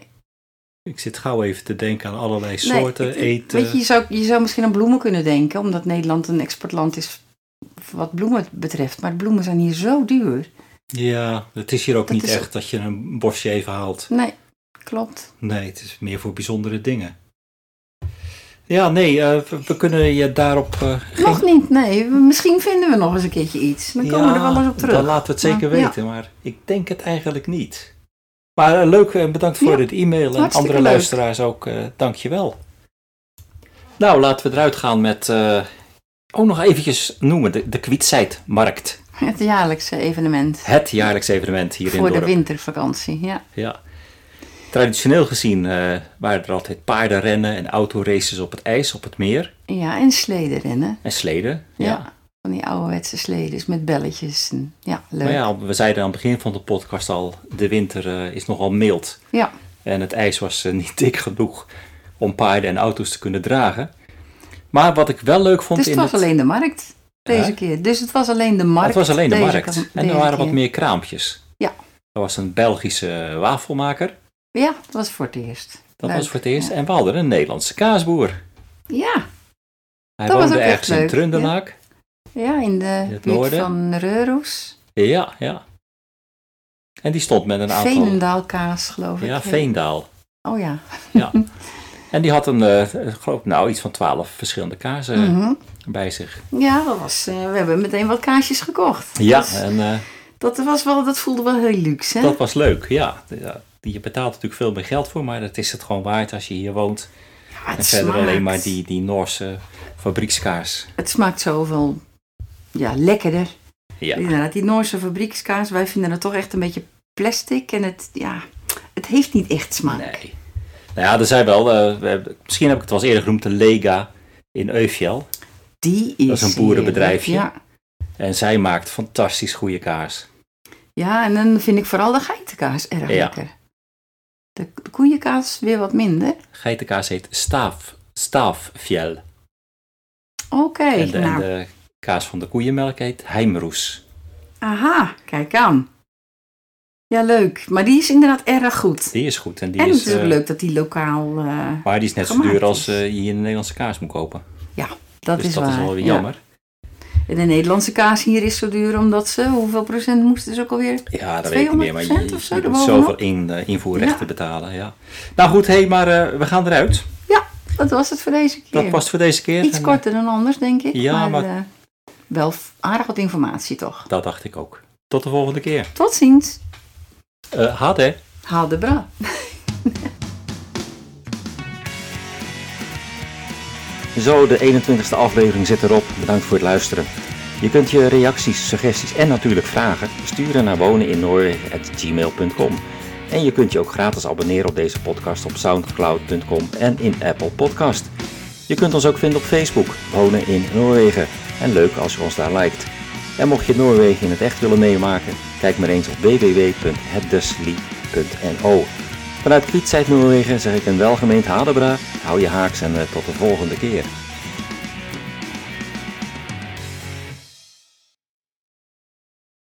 Speaker 1: Ik zit gauw even te denken aan allerlei
Speaker 2: Nee,
Speaker 1: soorten
Speaker 2: ik- ik-
Speaker 1: eten.
Speaker 2: Weet je, je zou, je zou misschien aan bloemen kunnen denken, omdat Nederland een exportland is wat bloemen betreft. Maar bloemen zijn hier zo duur.
Speaker 1: Ja, het is hier ook
Speaker 2: Dat
Speaker 1: niet
Speaker 2: is-
Speaker 1: echt dat je een bosje even haalt.
Speaker 2: Nee, klopt.
Speaker 1: Nee, het is meer voor bijzondere dingen. Ja, nee, eh, we, we kunnen je daarop eh, geen
Speaker 2: Nog niet, nee. Misschien vinden we nog eens een keertje iets. Dan komen we er wel eens op terug.
Speaker 1: Dan laten we het zeker
Speaker 2: Maar- ja.
Speaker 1: weten, maar ik denk het eigenlijk niet. Maar eh, leuk en bedankt voor
Speaker 2: Ja,
Speaker 1: dit e-mail en
Speaker 2: hartstikke
Speaker 1: andere
Speaker 2: leuk.
Speaker 1: luisteraars ook. eh dankjewel. Nou, laten we eruit gaan met, eh, ook nog eventjes noemen, de, de Kwietzijdmarkt.
Speaker 2: Het jaarlijkse evenement
Speaker 1: Het jaarlijks evenement hier in
Speaker 2: voor de
Speaker 1: dorp.
Speaker 2: wintervakantie. Ja.
Speaker 1: Ja. Traditioneel gezien eh, waren er altijd paardenrennen en autoraces op het ijs, op het meer
Speaker 2: ja, en sledenrennen.
Speaker 1: en sleden.
Speaker 2: Ja. Van die ouderwetse sledes met belletjes. En, ja, leuk.
Speaker 1: Maar
Speaker 2: Ja.
Speaker 1: ja, we zeiden aan het begin van de podcast al, de winter eh, is nogal mild. En het ijs was eh, niet dik genoeg om paarden en auto's te kunnen dragen. Maar wat ik wel leuk vond
Speaker 2: Dus het
Speaker 1: in
Speaker 2: was
Speaker 1: het...
Speaker 2: alleen de markt deze
Speaker 1: Ja.
Speaker 2: keer. Dus het was alleen de markt.
Speaker 1: het was alleen de
Speaker 2: deze
Speaker 1: markt.
Speaker 2: kant-
Speaker 1: en er
Speaker 2: deze
Speaker 1: waren wat
Speaker 2: keer.
Speaker 1: meer kraampjes.
Speaker 2: Ja.
Speaker 1: Er was een Belgische wafelmaker.
Speaker 2: Ja, het was voor het eerst.
Speaker 1: Dat
Speaker 2: Leuk,
Speaker 1: was voor het eerst.
Speaker 2: ja.
Speaker 1: En we hadden een Nederlandse kaasboer.
Speaker 2: Ja,
Speaker 1: Hij
Speaker 2: Dat was
Speaker 1: woonde
Speaker 2: ook echt
Speaker 1: ergens in
Speaker 2: leuk,
Speaker 1: Trundenaak.
Speaker 2: Ja, in de
Speaker 1: In het
Speaker 2: buurt
Speaker 1: noorden.
Speaker 2: van Reurus.
Speaker 1: Ja. ja, En die stond met een aantal...
Speaker 2: Veenendaalkaas, geloof ik.
Speaker 1: Ja, Veendaal.
Speaker 2: Oh ja.
Speaker 1: En die had een, eh, ik geloof nou, iets van twaalf verschillende kazen
Speaker 2: Mhm.
Speaker 1: bij zich.
Speaker 2: Ja, dat was, eh, we hebben meteen wat kaasjes gekocht.
Speaker 1: Ja,
Speaker 2: Dus
Speaker 1: en eh,
Speaker 2: dat, was wel, dat voelde wel heel luxe. Hè?
Speaker 1: Dat was leuk, ja. ja. Je betaalt natuurlijk veel meer geld voor, maar dat is het gewoon waard als je hier woont.
Speaker 2: Ja, Ah, het
Speaker 1: En verder
Speaker 2: smaakt-
Speaker 1: alleen maar die, die Noorse fabriekskaars.
Speaker 2: Het smaakt zoveel ja, lekkerder.
Speaker 1: Ja.
Speaker 2: Inderdaad, die Noorse fabriekskaas, wij vinden het toch echt een beetje plastic. En het, ja, het heeft niet echt smaak.
Speaker 1: Nee. Nou ja, er zijn wel, eh, we hebben- misschien heb ik het wel eens eerder genoemd, de Lega in Eufjel.
Speaker 2: Die is
Speaker 1: Dat is een boerenbedrijfje.
Speaker 2: heerlijk, Ja.
Speaker 1: En zij maakt fantastisch goede kaars.
Speaker 2: ja, en dan vind ik vooral de geitenkaas erg
Speaker 1: Ja.
Speaker 2: lekker. De de koeienkaas weer wat minder.
Speaker 1: Geitenkaas heet staaf, staafjel.
Speaker 2: Oké,
Speaker 1: en, de, en
Speaker 2: nou,
Speaker 1: de kaas van de koeienmelk heet heimroes.
Speaker 2: aha, kijk aan. Ja, leuk. Maar die is inderdaad erg goed.
Speaker 1: Die is goed. En die
Speaker 2: en
Speaker 1: is,
Speaker 2: het is ook
Speaker 1: eh,
Speaker 2: leuk dat die lokaal... eh,
Speaker 1: Maar die is net zo
Speaker 2: gemaakt dus.
Speaker 1: duur
Speaker 2: is.
Speaker 1: als eh, je hier een Nederlandse kaas moet kopen.
Speaker 2: dat
Speaker 1: dus
Speaker 2: is
Speaker 1: dat
Speaker 2: waar.
Speaker 1: is wel weer
Speaker 2: ja.
Speaker 1: jammer.
Speaker 2: En de Nederlandse kaas hier is zo duur omdat ze... Hoeveel procent moesten ze ook alweer?
Speaker 1: Ja, dat weet ik niet meer, maar je,
Speaker 2: 200% of zo
Speaker 1: je moet
Speaker 2: erbovenop.
Speaker 1: zoveel in, eh, invoerrechten
Speaker 2: Ja.
Speaker 1: betalen. Ja. Nou goed, hey, maar eh, we gaan eruit.
Speaker 2: Dat was het voor deze keer.
Speaker 1: Dat was het voor deze keer.
Speaker 2: Iets
Speaker 1: En, eh,
Speaker 2: korter dan anders, denk ik.
Speaker 1: Ja,
Speaker 2: maar...
Speaker 1: maar-
Speaker 2: eh, wel f- aardig wat informatie toch.
Speaker 1: Dat dacht ik ook. Tot de volgende keer.
Speaker 2: Tot ziens.
Speaker 1: Eh had hè.
Speaker 2: Haal de bra.
Speaker 1: Zo, de 21ste aflevering zit erop. Bedankt voor het luisteren. Je kunt je reacties, suggesties en natuurlijk vragen sturen naar woneninnoorwegen.gmail.com. En je kunt je ook gratis abonneren op deze podcast op soundcloud.com en in Apple Podcast. Je kunt ons ook vinden op Facebook, Wonen in Noorwegen. En leuk als je ons daar liked. En mocht je Noorwegen in het echt willen meemaken, kijk maar eens op dus www.hetdeslie.no. Vanuit Kwietzijd Noorwegen zeg ik een welgemeend hadebra. Hou je haaks en eh, tot de volgende keer.